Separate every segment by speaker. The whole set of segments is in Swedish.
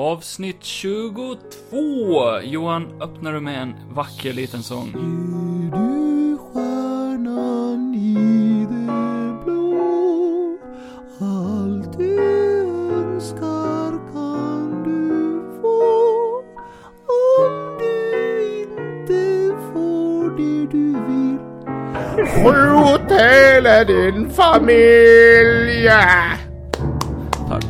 Speaker 1: Avsnitt 22! Johan, öppnar du med en vacker liten sång?
Speaker 2: Är du stjärnan i det blå? Allt du önskar kan du få. Om du inte får det du vill. Skjut hela din familj!
Speaker 1: Tack.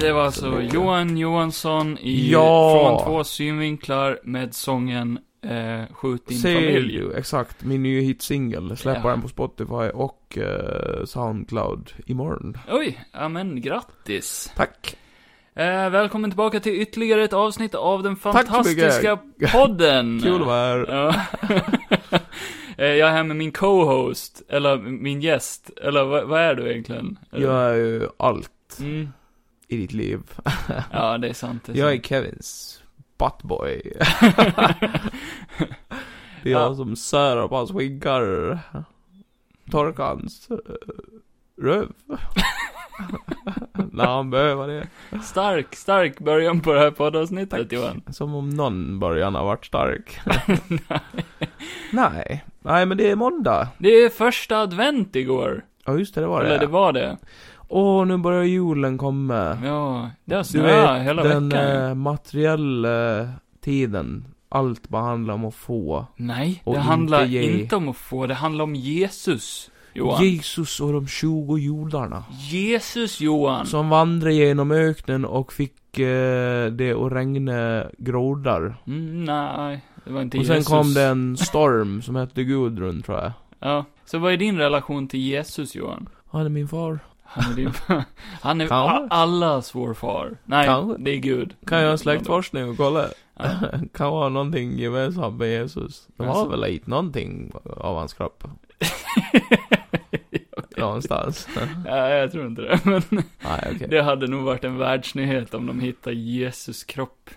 Speaker 1: Det var alltså Johan Johansson i
Speaker 2: Ja.
Speaker 1: Från två synvinklar med sången eh, Skjut din
Speaker 2: Save
Speaker 1: familj.
Speaker 2: you, exakt. Min nya hitsingel. Släpper
Speaker 1: Ja.
Speaker 2: den på Spotify och eh, Soundcloud imorgon.
Speaker 1: Oj, ja men grattis.
Speaker 2: Tack!
Speaker 1: Eh, välkommen tillbaka till ytterligare ett avsnitt av den
Speaker 2: så mycket.
Speaker 1: fantastiska podden.
Speaker 2: Kul att vara här.
Speaker 1: Ja. Eh, Jag är här med min co-host, eller min gäst, eller vad, vad är du egentligen?
Speaker 2: Jag är ju allt
Speaker 1: Mm.
Speaker 2: i ditt liv.
Speaker 1: Ja, det är sant. Det är
Speaker 2: Jag är
Speaker 1: sant.
Speaker 2: Kevins buttboy. Det är jag som sär upp hans skingar. Torkar hans eh, röv. När han behöver det.
Speaker 1: Stark, stark början på det här poddavsnittet Johan.
Speaker 2: Som om någon början har varit stark. Nej. Nej, men det är måndag.
Speaker 1: Det är första advent igår.
Speaker 2: Ja, just det, det var
Speaker 1: Eller det
Speaker 2: det.
Speaker 1: var det.
Speaker 2: Åh, nu börjar julen komma.
Speaker 1: Ja, det har
Speaker 2: Du
Speaker 1: snöat
Speaker 2: vet,
Speaker 1: hela
Speaker 2: den
Speaker 1: veckan.
Speaker 2: eh, materiella tiden. Allt bara handlar om att få.
Speaker 1: Nej,
Speaker 2: och
Speaker 1: det handlar
Speaker 2: inte
Speaker 1: inte,
Speaker 2: ge-
Speaker 1: om att få, det handlar om Jesus, Johan.
Speaker 2: Jesus och de 20 jordarna.
Speaker 1: Jesus, Johan.
Speaker 2: Som vandrade genom öknen och fick eh, det att regna grodar.
Speaker 1: Mm, nej, det var inte
Speaker 2: Och sen
Speaker 1: Jesus.
Speaker 2: kom det en storm som hette Gudrun tror jag.
Speaker 1: Ja. Så vad är din relation till Jesus, Johan?
Speaker 2: Han är min far.
Speaker 1: Han är din... Han är
Speaker 2: Kanske.
Speaker 1: a- allas vår far. Nej,
Speaker 2: Kanske.
Speaker 1: det är Gud.
Speaker 2: Kan jag göra en släktforskning och kolla?
Speaker 1: Ja.
Speaker 2: Kan vara någonting gemensamt med Jesus. De har
Speaker 1: Alltså.
Speaker 2: väl hit någonting av hans kropp? Någonstans.
Speaker 1: Nej, jag tror inte det. Men
Speaker 2: Nej okej.
Speaker 1: det hade nog varit en världsnyhet om de hittar Jesus kropp,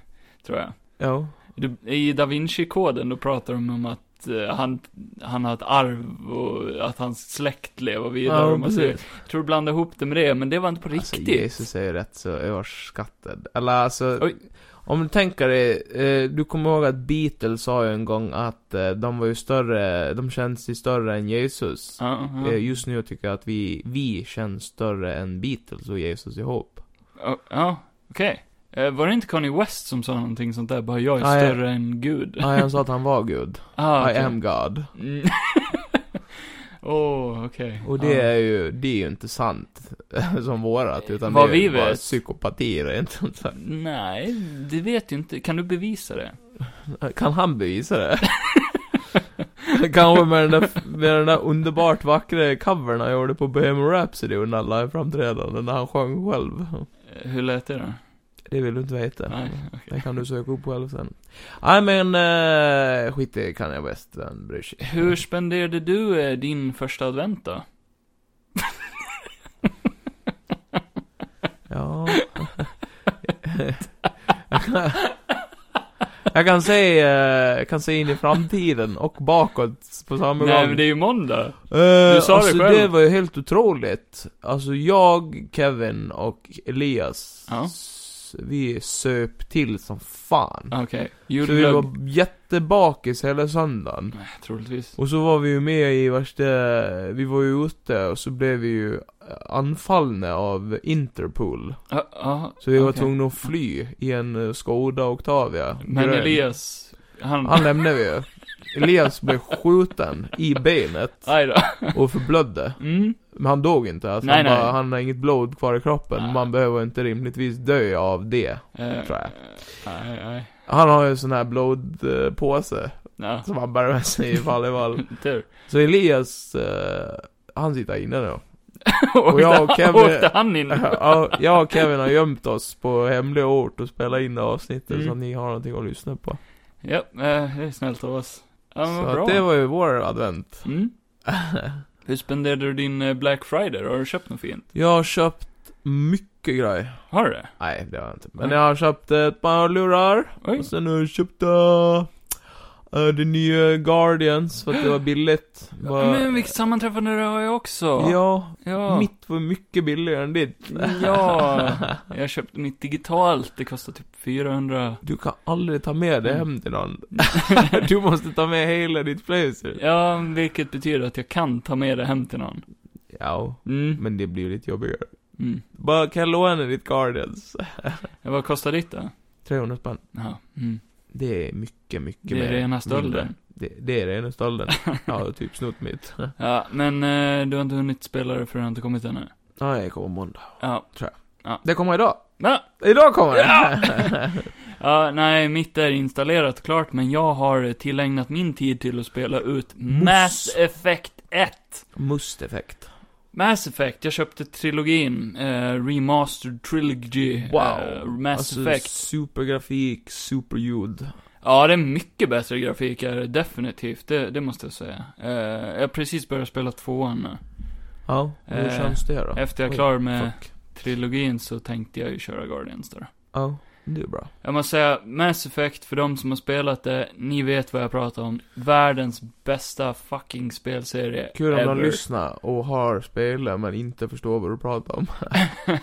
Speaker 1: tror jag.
Speaker 2: Jo.
Speaker 1: Du- I Da Vinci-koden, då pratar de om att eh, han, han har ett arv och att hans släkt lever vidare.
Speaker 2: Ja,
Speaker 1: och man säger,
Speaker 2: precis.
Speaker 1: jag tror du blandar ihop det med det, men det var inte på
Speaker 2: Alltså,
Speaker 1: riktigt.
Speaker 2: Jesus är ju rätt så överskattad. Eller alltså,
Speaker 1: Oj.
Speaker 2: om du tänker dig, eh, du kommer ihåg att Beatles sa ju en gång att eh, de var ju större, de känns ju större än Jesus.
Speaker 1: Ja, ja.
Speaker 2: Eh, just nu tycker jag att vi, vi känns större än Beatles och Jesus ihop.
Speaker 1: Ja, ja, okej. Eh, Var det inte Kanye West som sa någonting sånt där, bara jag är
Speaker 2: Nej.
Speaker 1: större än Gud?
Speaker 2: Nej, han sa att han var Gud.
Speaker 1: Ah,
Speaker 2: I
Speaker 1: okej.
Speaker 2: am God.
Speaker 1: Mm. Åh, okej.
Speaker 2: Och det
Speaker 1: Ja.
Speaker 2: är ju, det är ju inte sant som vårat, utan
Speaker 1: Vad
Speaker 2: det är ju
Speaker 1: vi
Speaker 2: bara
Speaker 1: vet.
Speaker 2: psykopati rent ut sagt.
Speaker 1: Nej, det vet jag inte. Kan du bevisa det?
Speaker 2: Kan han bevisa det? Kanske med den där, med den där underbart vackra covern han gjorde på Bohemian Rhapsody under liveframträdanden när han sjöng själv.
Speaker 1: Eh, Hur lät det då?
Speaker 2: Det vill du inte veta.
Speaker 1: Nej,
Speaker 2: Det kan du söka upp själv sen. Nej men, eh, skit i kan jag bäst, den bryr sig.
Speaker 1: Hur spenderade du eh, din första advent då?
Speaker 2: Ja. Jag kan- jag kan se, eh, jag kan se in i framtiden och bakåt på samma
Speaker 1: Nej,
Speaker 2: gång.
Speaker 1: men det är ju måndag.
Speaker 2: Eh,
Speaker 1: Du sa det
Speaker 2: alltså,
Speaker 1: själv.
Speaker 2: det var ju helt otroligt. Alltså jag, Kevin och Elias,
Speaker 1: Ja.
Speaker 2: s- vi söp till som fan.
Speaker 1: Ah, Okej.
Speaker 2: så vi
Speaker 1: Julglögg.
Speaker 2: var jättebakis hela söndagen.
Speaker 1: Nej, troligtvis.
Speaker 2: Och så var vi ju med i värsta, vi var ju ute och så blev vi ju anfallna av Interpol.
Speaker 1: Ja, ja.
Speaker 2: Så vi var
Speaker 1: Okej.
Speaker 2: tvungna att fly i en eh, Skoda Octavia.
Speaker 1: Men
Speaker 2: grön.
Speaker 1: Elias, han...
Speaker 2: Han lämnade vi ju. Elias blev skjuten i benet
Speaker 1: Aj då.
Speaker 2: och förblödde.
Speaker 1: Mm.
Speaker 2: Men han dog inte, alltså
Speaker 1: Nej,
Speaker 2: han, bara,
Speaker 1: nej.
Speaker 2: han har inget blod kvar i kroppen,
Speaker 1: Nej.
Speaker 2: man behöver inte rimligtvis dö av det.
Speaker 1: Eh,
Speaker 2: Tror jag.
Speaker 1: Nej, nej.
Speaker 2: Han har ju en sån här blodpåse eh,
Speaker 1: Ja,
Speaker 2: som han bär med sig i fall i fall.
Speaker 1: tur.
Speaker 2: Så Elias, eh, han sitter inne nu.
Speaker 1: Och
Speaker 2: jag och Kevin-
Speaker 1: Åkte han in?
Speaker 2: Ja, jag och Kevin har gömt oss på hemlig ort och spelat in avsnittet
Speaker 1: Mm.
Speaker 2: så att ni har någonting att lyssna på.
Speaker 1: Ja, eh, det är snällt av oss. Ja, men
Speaker 2: så
Speaker 1: vad bra.
Speaker 2: att det var ju vår advent.
Speaker 1: Mm. Hur spenderade du din eh, Black Friday då? Har du köpt något fint?
Speaker 2: Jag har köpt mycket grejer.
Speaker 1: Har du det?
Speaker 2: Nej, det har jag inte. Men
Speaker 1: Nej.
Speaker 2: jag har köpt ett par lurar.
Speaker 1: Oj.
Speaker 2: Och sen har jag köpt eh, eh, det nya Guardians för att det var billigt. Bara,
Speaker 1: Men vilket sammanträffande det har jag också.
Speaker 2: ja,
Speaker 1: ja.
Speaker 2: mitt var mycket billigare än ditt.
Speaker 1: Ja, jag köpte mitt digitalt. Det kostar typ 400.
Speaker 2: Du kan aldrig ta med det
Speaker 1: Mm.
Speaker 2: hem till någon. du måste ta med hela ditt blazer.
Speaker 1: Ja, vilket betyder att jag kan ta med det hem till någon.
Speaker 2: Ja,
Speaker 1: Mm.
Speaker 2: men det blir ju lite jobbigare.
Speaker 1: mm.
Speaker 2: Bara, kan jag låna ditt Guardians?
Speaker 1: Ja, Vad kostar ditt då?
Speaker 2: 300 spänn.
Speaker 1: Ja, mm.
Speaker 2: Det är mycket, mycket
Speaker 1: Det är
Speaker 2: mer.
Speaker 1: rena
Speaker 2: Mindre.
Speaker 1: stölden.
Speaker 2: Det, det är rena stölden. Jag har typ snott mitt.
Speaker 1: Ja, men eh, du har inte hunnit spela det för det har inte kommit ännu.
Speaker 2: Ja, jag kommer måndag.
Speaker 1: Ja.
Speaker 2: Det kommer idag.
Speaker 1: Ja,
Speaker 2: Idag kommer det!
Speaker 1: ja, nej, mitt är installerat klart, men jag har tillägnat min tid till att spela ut
Speaker 2: Mus.
Speaker 1: Mass Effect 1.
Speaker 2: Musteffekt.
Speaker 1: Mass Effect, jag köpte trilogin, eh, Remastered Trilogy,
Speaker 2: Wow.
Speaker 1: eh, Mass
Speaker 2: Alltså,
Speaker 1: Effect.
Speaker 2: supergrafik, superljud.
Speaker 1: Ja, det är mycket bättre grafik är det definitivt, det, det måste jag säga. Eh, jag har precis börjat spela tvåan nu.
Speaker 2: Ja, hur
Speaker 1: Eh,
Speaker 2: känns det då?
Speaker 1: Efter jag är
Speaker 2: Oj,
Speaker 1: klar med
Speaker 2: Fuck.
Speaker 1: trilogin så tänkte jag ju köra Guardians då.
Speaker 2: Ja, det är bra.
Speaker 1: Jag måste säga, Mass Effect, för de som har spelat det, ni vet vad jag pratar om. Världens bästa fucking spelserie
Speaker 2: Kul om
Speaker 1: ever.
Speaker 2: de lyssnar och har spelat men inte förstår vad du pratar om.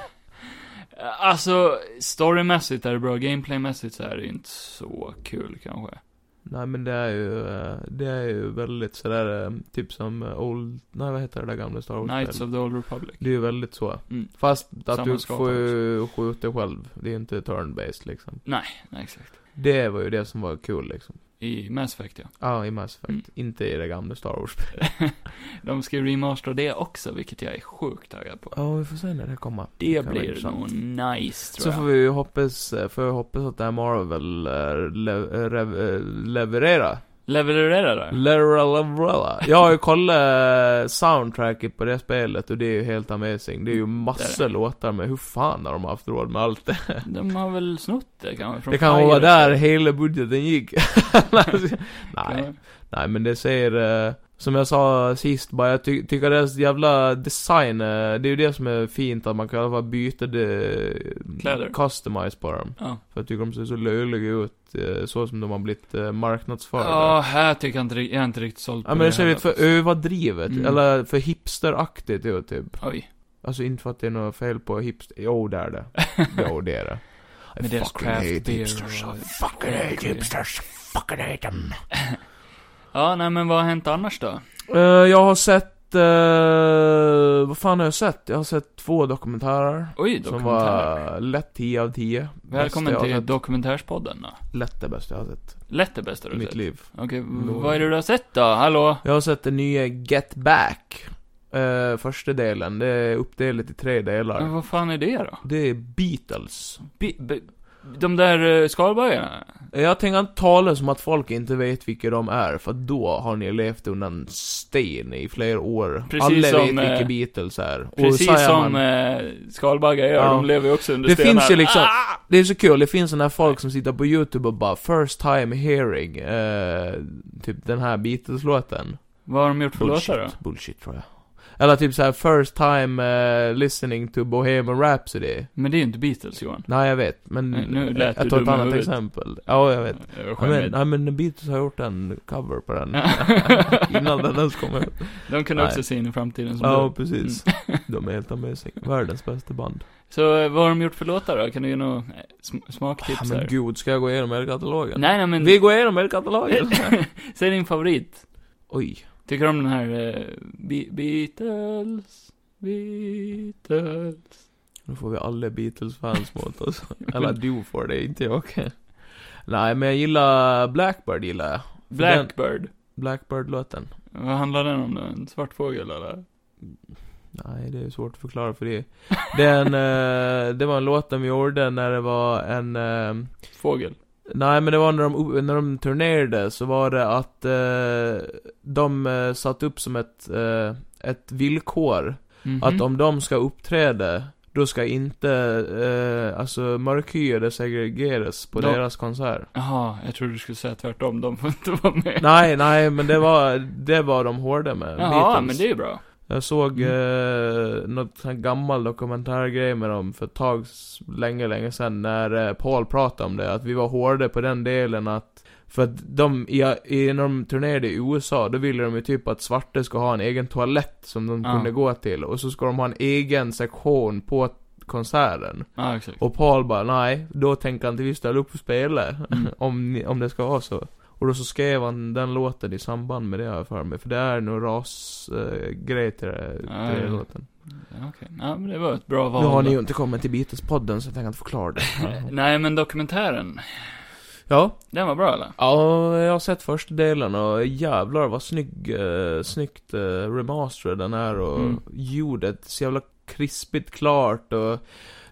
Speaker 1: Alltså, storymässigt är det bra, gameplaymässigt så är det inte så kul kanske.
Speaker 2: Nej men det är ju, eh, det är ju väldigt sådär, eh, typ som eh, Old, nej vad heter det där gamla Star
Speaker 1: Knights
Speaker 2: Wars-spelet?
Speaker 1: of the Old Republic.
Speaker 2: Det är ju väldigt så.
Speaker 1: Mm.
Speaker 2: Fast att
Speaker 1: Samma
Speaker 2: du
Speaker 1: skapare
Speaker 2: får ju skjuta själv. Det är ju inte turn-based liksom.
Speaker 1: Nej, exakt.
Speaker 2: Det var ju det som var kul liksom.
Speaker 1: I Mass Effect, ja.
Speaker 2: Ja, i Mass Effect.
Speaker 1: Mm.
Speaker 2: Inte i det gamla Star Wars.
Speaker 1: De ska ju remastera det också, vilket jag är sjukt taggad på.
Speaker 2: Ja, vi får se när det kommer.
Speaker 1: Det,
Speaker 2: kan vara
Speaker 1: blir
Speaker 2: intressant.
Speaker 1: nog nice, tror
Speaker 2: Så
Speaker 1: jag.
Speaker 2: får vi ju hoppas, eh, får vi hoppas att det här Marvel eh, le, eh, rev, eh, levererar.
Speaker 1: Levererar det?
Speaker 2: Leverella. Jag har ju kollat eh, soundtracket på det spelet och det är ju helt amazing. Det är ju
Speaker 1: Mm,
Speaker 2: massor låtar med, hur fan har de haft råd med allt det?
Speaker 1: De har väl snott det kanske från
Speaker 2: Det kan
Speaker 1: Fire
Speaker 2: vara där
Speaker 1: Emblem.
Speaker 2: hela budgeten gick. nej, Nej men det säger, eh, som jag sa sist bara, jag ty tycker deras jävla design, eh, det är ju det som är fint att man kan i alla fall byta de,
Speaker 1: Kläder.
Speaker 2: customize på dem.
Speaker 1: Ja.
Speaker 2: För jag tycker de ser så löjliga ut, eh, så som de har blivit eh, marknadsförda.
Speaker 1: Ja, här tycker jag inte, rikt- jag är inte riktigt såld på
Speaker 2: Ja men det ser
Speaker 1: heller,
Speaker 2: lite för
Speaker 1: faktiskt.
Speaker 2: överdrivet,
Speaker 1: Mm.
Speaker 2: eller för hipsteraktigt ut typ.
Speaker 1: Oj.
Speaker 2: Alltså inte för att det är något fel på hipster, jo det är det. Jo det är det. I
Speaker 1: Med deras
Speaker 2: fucking
Speaker 1: craft
Speaker 2: hate
Speaker 1: beer
Speaker 2: hipsters,
Speaker 1: och-
Speaker 2: I fucking hate hipsters, fucking hate them.
Speaker 1: Ja, nej men vad har hänt annars då?
Speaker 2: Eh, jag har sett... eh, vad fan har jag sett? Jag har sett två dokumentärer.
Speaker 1: Oj,
Speaker 2: Som
Speaker 1: dokumentär.
Speaker 2: var lätt 10 av 10. Bästa
Speaker 1: Välkommen
Speaker 2: jag har
Speaker 1: till
Speaker 2: sett.
Speaker 1: dokumentärspodden då.
Speaker 2: Lätt det bästa jag har sett
Speaker 1: Lätt det bästa
Speaker 2: i
Speaker 1: du
Speaker 2: mitt
Speaker 1: sett.
Speaker 2: liv.
Speaker 1: Okej, v-
Speaker 2: Då-
Speaker 1: vad är det du har sett då? Hallå?
Speaker 2: Jag har sett den nya Get Back. Eh, första delen, det är uppdelat i tre delar.
Speaker 1: Men vad fan är det då?
Speaker 2: Det är Beatles.
Speaker 1: Bi- bi- de där uh, skalbaggarna?
Speaker 2: Eh, Jag tänker inte tala som att folk inte vet vilka de är, för då har ni levt under en sten i flera år.
Speaker 1: Precis
Speaker 2: Alla
Speaker 1: som,
Speaker 2: vet vilka
Speaker 1: eh,
Speaker 2: Beatles är. Och säger
Speaker 1: Precis
Speaker 2: man-
Speaker 1: som eh, skalbaggar gör,
Speaker 2: Ja.
Speaker 1: de lever ju också under
Speaker 2: Det
Speaker 1: stenar.
Speaker 2: finns ju liksom-
Speaker 1: Ah!
Speaker 2: Det är så kul, det finns såna här folk som sitter på youtube och bara 'First time hearing' eh, Typ den här Beatles-låten
Speaker 1: Vad har de gjort för låtar då?
Speaker 2: Bullshit, bullshit tror jag Eller typ så här 'First time eh, listening to Bohemian Rhapsody'
Speaker 1: Men det är ju inte Beatles, Johan.
Speaker 2: Nej jag vet, men
Speaker 1: Nej, nu lät du
Speaker 2: jag tar ett
Speaker 1: dum i
Speaker 2: annat
Speaker 1: huvudet.
Speaker 2: exempel Ja jag vet
Speaker 1: Jag
Speaker 2: Nej, men,
Speaker 1: men,
Speaker 2: nej men Beatles har gjort en cover på den Innan den ens kom ut
Speaker 1: De kunde
Speaker 2: Nej.
Speaker 1: också se in i framtiden som
Speaker 2: Ja
Speaker 1: du. Mm.
Speaker 2: precis De är helt amazing, världens bästa band
Speaker 1: Så eh, vad har de gjort för låtar då? Kan du ge några eh, sm- smaktips
Speaker 2: ah,
Speaker 1: här?
Speaker 2: Men gud, ska jag gå igenom hela katalogen?
Speaker 1: Nej, nej men,
Speaker 2: Vi går igenom hela katalogen!
Speaker 1: säg din favorit.
Speaker 2: Oj
Speaker 1: Tycker du om den här eh, Be- Beatles? Beatles?
Speaker 2: Nu får vi alla Beatles-fans mot oss. Eller du får det, inte jag. Nej, men jag gillar Blackbird, gillar jag.
Speaker 1: Blackbird?
Speaker 2: Blackbird-låten.
Speaker 1: Vad handlar den om då? En svart fågel eller?
Speaker 2: Nej, det är svårt att förklara för det. Det, är en, eh, det var en låt de gjorde när det var en... eh,
Speaker 1: Fågel?
Speaker 2: nej, men det var när de, när de turnerade så var det att eh, de eh, satte upp som ett, eh, ett villkor
Speaker 1: Mhm.
Speaker 2: Att om de ska uppträda, då ska inte, eh, alltså mörkhyade segregeras på
Speaker 1: Ja.
Speaker 2: deras konsert.
Speaker 1: Jaha, jag trodde du skulle säga tvärtom. De får inte vara med.
Speaker 2: Nej, nej, men det var, det var de hårda med.
Speaker 1: Jaha,
Speaker 2: Beatles.
Speaker 1: men det är ju bra.
Speaker 2: Jag såg
Speaker 1: Mm.
Speaker 2: eh, något sån här gammal dokumentärgrej med dem för ett tag, s- länge, länge sedan när eh, Paul pratade om det. Att vi var hårda på den delen att för att de, i, i, när de turnerade i USA, då ville de ju typ att svarta ska ha en egen toalett som de
Speaker 1: Ja.
Speaker 2: kunde gå till. Och så ska de ha en egen sektion på konserten.
Speaker 1: Ja, exakt.
Speaker 2: Och Paul bara, nej, då tänker inte vi ställa upp och spela.
Speaker 1: Mm.
Speaker 2: om, ni, om det ska vara så. Och då så skrev han den låten i samband med det har jag för mig. För det är nog rasgrej till, det, till
Speaker 1: Ja,
Speaker 2: den
Speaker 1: ja.
Speaker 2: låten.
Speaker 1: Ja, okej. Ja, men det var ett bra val.
Speaker 2: Nu har ni
Speaker 1: då.
Speaker 2: ju inte kommit till Beatles-podden så jag tänker inte förklara det.
Speaker 1: Eh, Nej, men dokumentären.
Speaker 2: ja.
Speaker 1: Den var bra eller?
Speaker 2: ja, jag har sett första delen och jävlar vad snygg, eh, snyggt eh, remastered den är och
Speaker 1: Mm.
Speaker 2: ljudet så jävla krispigt klart och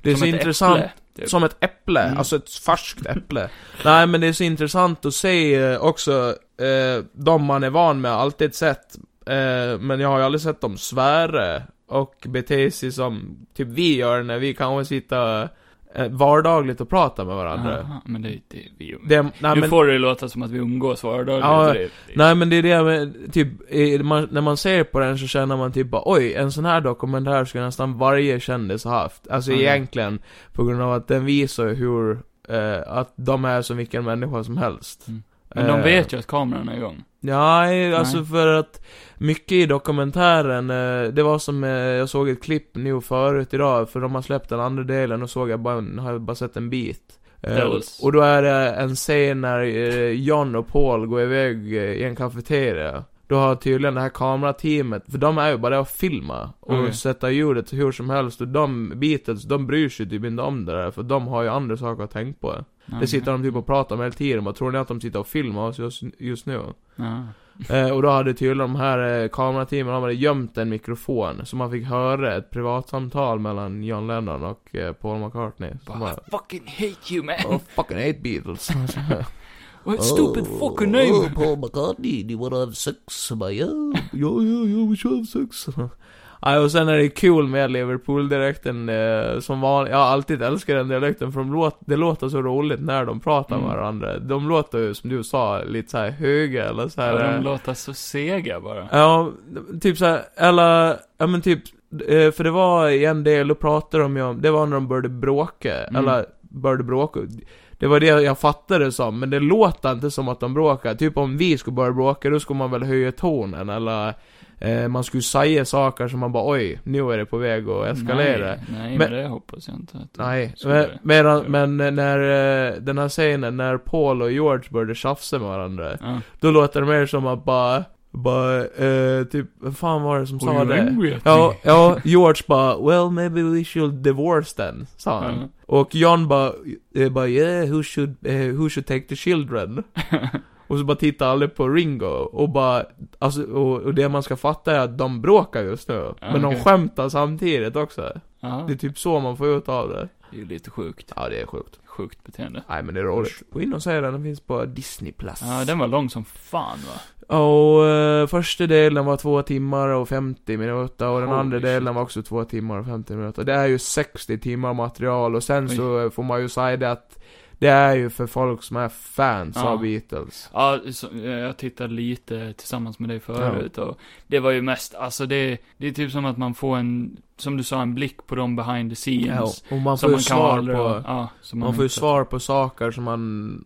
Speaker 2: det är
Speaker 1: Som
Speaker 2: så
Speaker 1: ett
Speaker 2: intressant.
Speaker 1: äpple, typ.
Speaker 2: Som ett äpple,
Speaker 1: Mm.
Speaker 2: alltså ett färskt äpple. Nej men det är så intressant att se eh, också, eh, de man är van med har alltid sett, eh, men jag har ju aldrig sett dem svära och bete sig som typ vi gör när vi kanske sitter eh, vardagligt och pratar med varandra.
Speaker 1: Aha, men det är det vi umgås.
Speaker 2: Det, nej,
Speaker 1: nu
Speaker 2: men,
Speaker 1: får det ju låta som att vi umgås vardagligen.
Speaker 2: Ja,
Speaker 1: så det, det,
Speaker 2: nej men det är det med, typ, eh, man, när man ser på den så känner man typ bara, oj, en sån här dokumentär skulle nästan varje kändis ha haft. Alltså
Speaker 1: Mm.
Speaker 2: egentligen, på grund av att den visar hur, eh, att de är som vilken människa som helst.
Speaker 1: Mm. Men de
Speaker 2: Eh,
Speaker 1: vet ju att kameran är igång.
Speaker 2: Nej, alltså för att mycket i dokumentären, eh, det var som, eh, jag såg ett klipp nu förut idag, för de har släppt den andra delen och såg jag bara, en- har jag bara sett en bit. Eh,
Speaker 1: Devils.
Speaker 2: och då är det en scen när eh, John och Paul går iväg eh, i en kafeteria. Då har tydligen det här kamerateamet, för de är ju bara där och filma och
Speaker 1: Okej.
Speaker 2: sätta ljudet hur som helst och de, Beatles, de bryr sig typ inte om det där för de har ju andra saker att tänka på. Det sitter de typ och pratar om hela tiden, vad tror ni att de sitter och filmar oss just, just nu?
Speaker 1: Ja.
Speaker 2: Eh, och då hade tydligen de här eh, kamerateamen, de hade gömt en mikrofon, så man fick höra ett privatsamtal mellan John Lennon och eh, Paul McCartney.
Speaker 1: Bara,
Speaker 2: Som bara,
Speaker 1: I fucking hate you man!
Speaker 2: oh, fucking hate Beatles. Oh.
Speaker 1: What stupid fucking name!
Speaker 3: Oh, Paul McCartney, do you want to have sex? Am I? Oh,
Speaker 2: ja, ja, ja, vi kör sex. Nej, och sen är det kul med Liverpool-dialekten eh, som vanligt. Jag har alltid älskat den dialekten för de låt, det låter så roligt när de pratar
Speaker 1: Mm.
Speaker 2: med varandra. De låter ju, som du sa, lite så här höga eller så här.
Speaker 1: Ja, de
Speaker 2: eh,
Speaker 1: låter så sega bara.
Speaker 2: Ja, typ såhär, eller, ja men typ, eh, för det var i en del, då pratade de ju om, det var när de började bråka,
Speaker 1: Mm.
Speaker 2: eller började bråka. Det var det jag fattade det som, men det låter inte som att de bråkar. Typ om vi skulle börja bråka, då skulle man väl höja tonen, eller eh, man skulle säga saker som man bara oj, nu är det på väg att eskalera.
Speaker 1: Nej, nej men,
Speaker 2: Men-
Speaker 1: det hoppas jag inte. Att de
Speaker 2: Nej,
Speaker 1: skulle
Speaker 2: men,
Speaker 1: göra.
Speaker 2: medan, men när eh, den här scenen, när Paul och George började tjafsa med varandra,
Speaker 1: Ja.
Speaker 2: då låter det mer som att bara, bara, eh, typ, vem fan var det som sa
Speaker 1: Har du
Speaker 2: det?
Speaker 1: ringret?
Speaker 2: Ja, ja, George bara, well maybe we should divorce then, sa han.
Speaker 1: Ja.
Speaker 2: Och John bara, eh, bara yeah, who should, eh, who should take the children? och så bara tittar alla på Ringo och bara, alltså, och, och det man ska fatta är att de bråkar just nu.
Speaker 1: Ja,
Speaker 2: men de
Speaker 1: okej.
Speaker 2: skämtar samtidigt också.
Speaker 1: Ja,
Speaker 2: Det är typ så man får ut av det.
Speaker 1: det är ju lite sjukt.
Speaker 2: Ja, det är sjukt.
Speaker 1: Sjukt beteende.
Speaker 2: Nej men det är roligt. Gå in och se den, den finns på Disney+. Plus.
Speaker 1: Ja, den var lång som fan va?
Speaker 2: Och eh, första delen var två timmar och 50 minuter och den
Speaker 1: Holy
Speaker 2: andra
Speaker 1: shit.
Speaker 2: delen var också två timmar och 50 minuter. Det är ju 60 timmar material och sen så eh, får man ju säga det att det är ju för folk som är fans
Speaker 1: Ja.
Speaker 2: av Beatles.
Speaker 1: Ja, så, eh, jag tittade lite tillsammans med dig förut och det var ju mest, alltså det, det är typ som att man får en, som du sa, en blick på dem behind the scenes.
Speaker 2: Och man
Speaker 1: som
Speaker 2: får ju
Speaker 1: man kan
Speaker 2: svar
Speaker 1: aldrig,
Speaker 2: på,
Speaker 1: ja, som
Speaker 2: man får ju
Speaker 1: inte-
Speaker 2: svar på saker som man,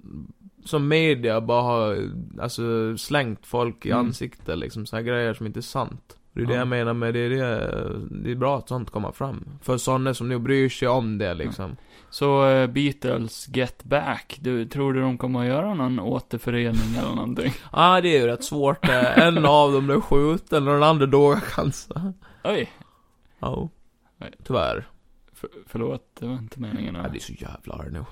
Speaker 2: som media bara har, alltså slängt folk i
Speaker 1: Mm.
Speaker 2: ansiktet liksom, så här grejer som inte är sant. Det är det
Speaker 1: Ja.
Speaker 2: jag menar med det, är det, det är bra att sånt kommer fram. För sådana som nu bryr sig om det liksom.
Speaker 1: Så eh, Beatles Get Back, du, tror du de kommer att göra någon återförening eller någonting?
Speaker 2: Ja, ah, det är ju rätt svårt. eh. En av dem blev skjuten och den andra dog cancer.
Speaker 1: Oj,
Speaker 2: Ja.
Speaker 1: Nej.
Speaker 2: Tyvärr.
Speaker 1: för, förlåt, det var inte meningen
Speaker 2: Jag
Speaker 1: att
Speaker 2: blir så jävla arg nu.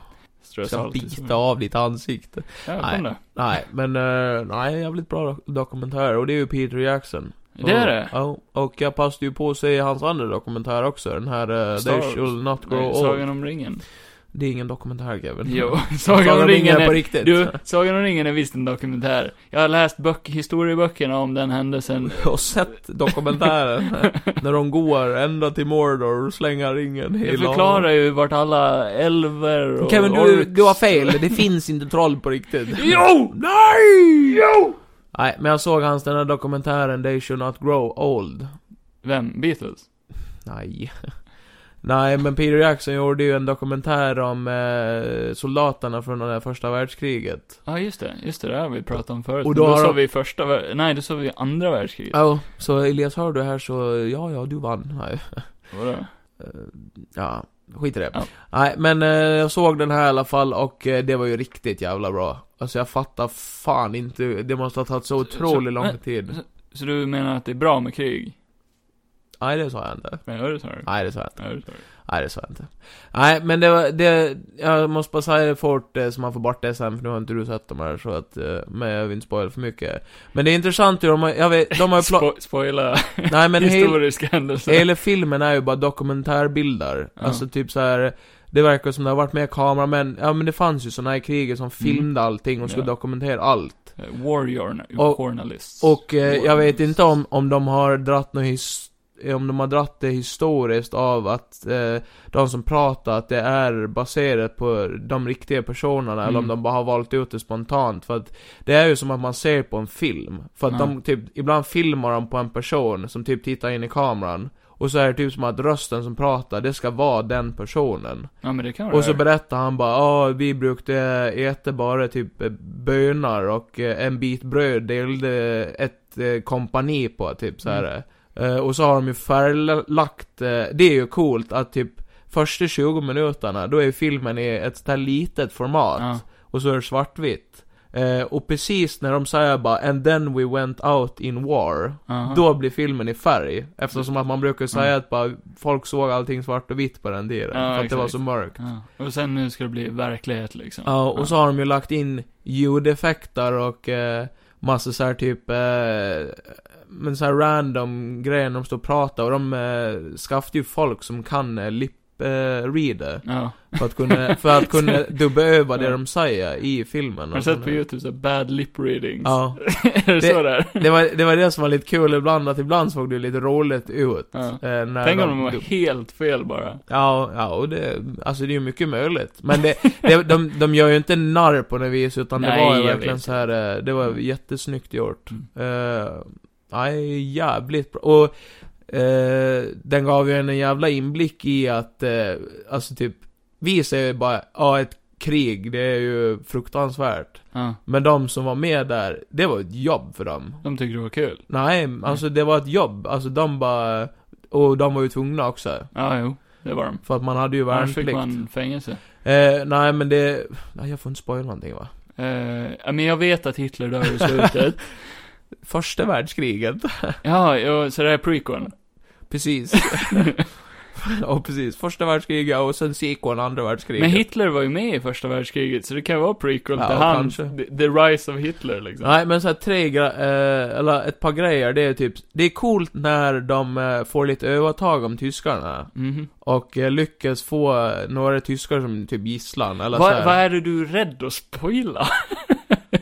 Speaker 1: strö
Speaker 2: Jag ska
Speaker 1: salt i
Speaker 2: bita
Speaker 1: såren.
Speaker 2: av ditt ansikte.
Speaker 1: Ja, kom då.
Speaker 2: Nej, men eh, nej, jävligt bra do- dokumentär. Och det är ju Peter Jackson.
Speaker 1: Det är det.
Speaker 2: Ja, och jag passade ju på att se hans andra dokumentär också. Den här eh,
Speaker 1: Star-
Speaker 2: They Shall Not Grow
Speaker 1: Nej,
Speaker 2: Old.
Speaker 1: Sagan om ringen.
Speaker 2: Det är ingen dokumentär Kevin.
Speaker 1: Jo, Sagan om ringen
Speaker 2: på
Speaker 1: är...
Speaker 2: riktigt.
Speaker 1: Du, Sagan om ringen är visst en dokumentär. Jag har läst böck, historieböckerna om den händelsen.
Speaker 2: Och sett dokumentären. när de går ända till Mordor och slänger ringen i
Speaker 1: Det
Speaker 2: lavan.
Speaker 1: förklarar ju vart alla älver och
Speaker 2: Kevin, du,
Speaker 1: orks-
Speaker 2: du har fel. Det finns inte troll på riktigt.
Speaker 1: Jo!
Speaker 2: Nej! Jo! Nej, men jag såg hans den här dokumentären They Should Not Grow Old.
Speaker 1: Vem? Beatles?
Speaker 2: Nej. Nej, men Peter Jackson gjorde ju en dokumentär om eh, soldaterna från det här första världskriget.
Speaker 1: Ja, just det. Just det, det har vi pratat om förut.
Speaker 2: Och
Speaker 1: Och
Speaker 2: då
Speaker 1: då,
Speaker 2: har
Speaker 1: sa
Speaker 2: de-
Speaker 1: vi första, vär- nej, då sa vi andra världskriget.
Speaker 2: Ja, Oh, så Elias, hör du här så, ja, ja, du vann. Nej.
Speaker 1: Vadå?
Speaker 2: Eh, Ja, skit i det.
Speaker 1: Ja.
Speaker 2: Nej, men eh, jag såg den här i alla fall och eh, det var ju riktigt jävla bra. Alltså jag fattar fan inte, hur- det måste ha tagit så
Speaker 1: Så-
Speaker 2: otroligt
Speaker 1: så-
Speaker 2: lång
Speaker 1: men-
Speaker 2: tid.
Speaker 1: Så du menar att det är bra med krig?
Speaker 2: Nej, det sa jag inte.
Speaker 1: Nej, det sa du.
Speaker 2: Nej, det sa jag inte.
Speaker 1: Ja, det sa du.
Speaker 2: Nej, det sa jag inte. Nej, men det var, det, jag måste bara säga det fort eh, så man får bort det sen, för nu har inte du sett de här så att, eh, men jag vill inte spoila för mycket. Men det är intressant hur de har, jag vet, de har ju pla-
Speaker 1: Spo- spoila
Speaker 2: Nej men hel,
Speaker 1: historiska händelser.
Speaker 2: hela filmen är ju bara dokumentärbilder.
Speaker 1: Ja.
Speaker 2: Alltså typ så här. det verkar som det har varit med kameramän, ja men det fanns ju såna här kriget som filmade allting och skulle
Speaker 1: Mm. Ja.
Speaker 2: dokumentera allt.
Speaker 1: Eh, Warrior
Speaker 2: Och-
Speaker 1: journalists.
Speaker 2: Och eh, jag vet
Speaker 1: Warriors.
Speaker 2: inte om, om de har dratt något his- om de har dratt det historiskt av att eh, de som pratar att det är baserat på de riktiga personerna eller om
Speaker 1: Mm.
Speaker 2: de bara har valt ut det spontant för att det är ju som att man ser på en film. För att
Speaker 1: Ja.
Speaker 2: de typ, ibland filmar de på en person som typ tittar in i kameran och så är det typ som att rösten som pratar, det ska vara den personen.
Speaker 1: Ja, men det kan
Speaker 2: Och så
Speaker 1: vara.
Speaker 2: berättar han bara ja vi brukade äta bara typ eh, bönor och eh, en bit bröd delade ett eh, kompani på typ så här.
Speaker 1: Mm.
Speaker 2: Eh, Och så har de ju färglagt, eh, det är ju coolt att typ första 20 minuterna, då är filmen i ett sånt här litet format.
Speaker 1: Ja.
Speaker 2: Och så är det svartvitt. Eh, Och precis när de säger bara 'And then we went out in war'
Speaker 1: Aha.
Speaker 2: Då blir filmen i färg, eftersom att man brukar säga att bara folk såg allting svart och vitt på den tiden,
Speaker 1: Ja,
Speaker 2: för att det var
Speaker 1: exakt.
Speaker 2: så mörkt.
Speaker 1: Ja. Och sen nu ska det bli verklighet liksom.
Speaker 2: Ja, och så har de ju lagt in ljudeffekter och eh, massa så här typ, eh, men så här random grejer när de står och pratar och de eh, skaffade ju folk som kan eh, lip eh, reader
Speaker 1: Ja.
Speaker 2: för att kunna, för att kunna dubba över det
Speaker 1: Ja.
Speaker 2: de säger i filmen.
Speaker 1: Har du sett på youtube så här, bad lip readings?
Speaker 2: Ja.
Speaker 1: är det, så där?
Speaker 2: Det var, det var det som var lite kul ibland, att ibland såg det lite roligt ut.
Speaker 1: Ja.
Speaker 2: Eh, när
Speaker 1: Tänk om de var
Speaker 2: du-
Speaker 1: helt fel bara.
Speaker 2: Ja, ja, och det, alltså det är ju mycket möjligt. Men det, det, de, de gör ju inte narr på något vis, utan det
Speaker 1: Nej,
Speaker 2: var ju
Speaker 1: jag
Speaker 2: verkligen
Speaker 1: vet.
Speaker 2: så här eh, det var jättesnyggt gjort.
Speaker 1: Mm.
Speaker 2: Eh, Nej, jävligt bra. Och eh, den gav ju en jävla inblick i att, eh, alltså typ, vi ser ju bara, ja ett krig, det är ju fruktansvärt.
Speaker 1: Ja.
Speaker 2: Men de som var med där, det var ett jobb för dem.
Speaker 1: De tyckte det var kul.
Speaker 2: Nej,
Speaker 1: Mm.
Speaker 2: alltså det var ett jobb. Alltså de bara, och de var ju tvungna också.
Speaker 1: Ja, jo. Det var de.
Speaker 2: För att man hade ju
Speaker 1: Annars fick
Speaker 2: värnplikt.
Speaker 1: man fängelse.
Speaker 2: Eh, nej men det... Nej, jag får inte spoila någonting va?
Speaker 1: Eh, ja, men jag vet att Hitler dör i slutet.
Speaker 2: Första världskriget.
Speaker 1: ja, ja, så det här är prequeln.
Speaker 2: Precis. ja precis, första världskriget och sen sequeln, andra världskriget.
Speaker 1: Men Hitler var ju med i första världskriget, så det kan ju vara prequel
Speaker 2: Ja,
Speaker 1: till hans,
Speaker 2: kanske.
Speaker 1: the, the Rise of Hitler liksom.
Speaker 2: Nej men såhär tre gra- eh, eller ett par grejer, det är typ, det är coolt när de eh, får lite övertag om tyskarna.
Speaker 1: Mhm.
Speaker 2: Och eh, lyckas få eh, några tyskar som typ gisslan, eller
Speaker 1: Vad
Speaker 2: såhär.
Speaker 1: vad är det du är rädd att spoila?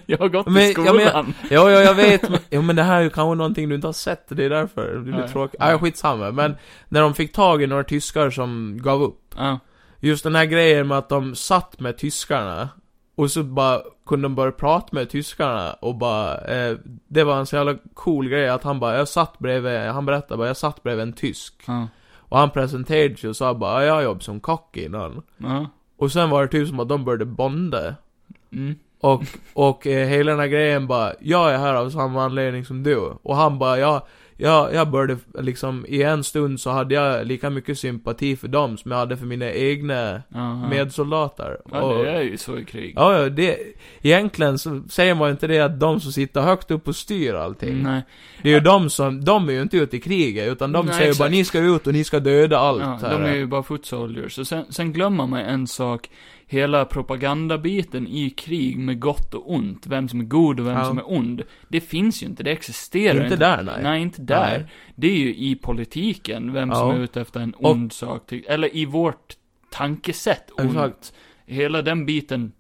Speaker 1: jag har gått
Speaker 2: Men-
Speaker 1: i
Speaker 2: ja, men jag-
Speaker 1: skolan.
Speaker 2: Ja, ja, jag vet. men- Jo, men det här är ju kanske någonting du inte har sett, det är därför det blir
Speaker 1: Nej.
Speaker 2: tråkigt. Nej, skitsamma. Men när de fick tag i några tyskar som gav upp.
Speaker 1: Ja.
Speaker 2: Just den här grejen med att de satt med tyskarna och så bara kunde de börja prata med tyskarna och bara, eh, det var en så jävla cool grej att han bara, jag satt bredvid, han berättade bara, jag satt bredvid en tysk.
Speaker 1: Ja.
Speaker 2: Och han presenterade sig och sa bara, jag har jobbat som kock innan.
Speaker 1: Ja.
Speaker 2: Och sen var det typ som att de började bonda.
Speaker 1: Mm.
Speaker 2: Och, och eh, hela den här grejen bara, jag är här av samma anledning som du. Och han bara, ja, jag, jag började liksom, i en stund så hade jag lika mycket sympati för dem som jag hade för mina egna
Speaker 1: Ja, ja.
Speaker 2: medsoldater.
Speaker 1: Ja, det är ju så i krig.
Speaker 2: ja, ja, det... Egentligen så säger man ju inte det att de som sitter högt upp och styr allting.
Speaker 1: Nej.
Speaker 2: Det är ju de som, de är ju inte ute i kriget, utan de
Speaker 1: Nej,
Speaker 2: säger bara
Speaker 1: exakt.
Speaker 2: ni ska ut och ni ska döda allt.
Speaker 1: Ja,
Speaker 2: här.
Speaker 1: de är ju bara foot soldiers. Och sen, sen glömmer man en sak. Hela propagandabiten i krig med gott och ont. Vem som är god och vem
Speaker 2: Ja.
Speaker 1: som är ond. Det finns ju inte, det existerar
Speaker 2: inte där nej.
Speaker 1: Nej. inte där.
Speaker 2: Nej.
Speaker 1: Det är ju i politiken vem
Speaker 2: Ja.
Speaker 1: som är ute efter en
Speaker 2: Och-
Speaker 1: ond sak. till- Eller i vårt tankesätt ont.
Speaker 2: Exakt.
Speaker 1: Hela den biten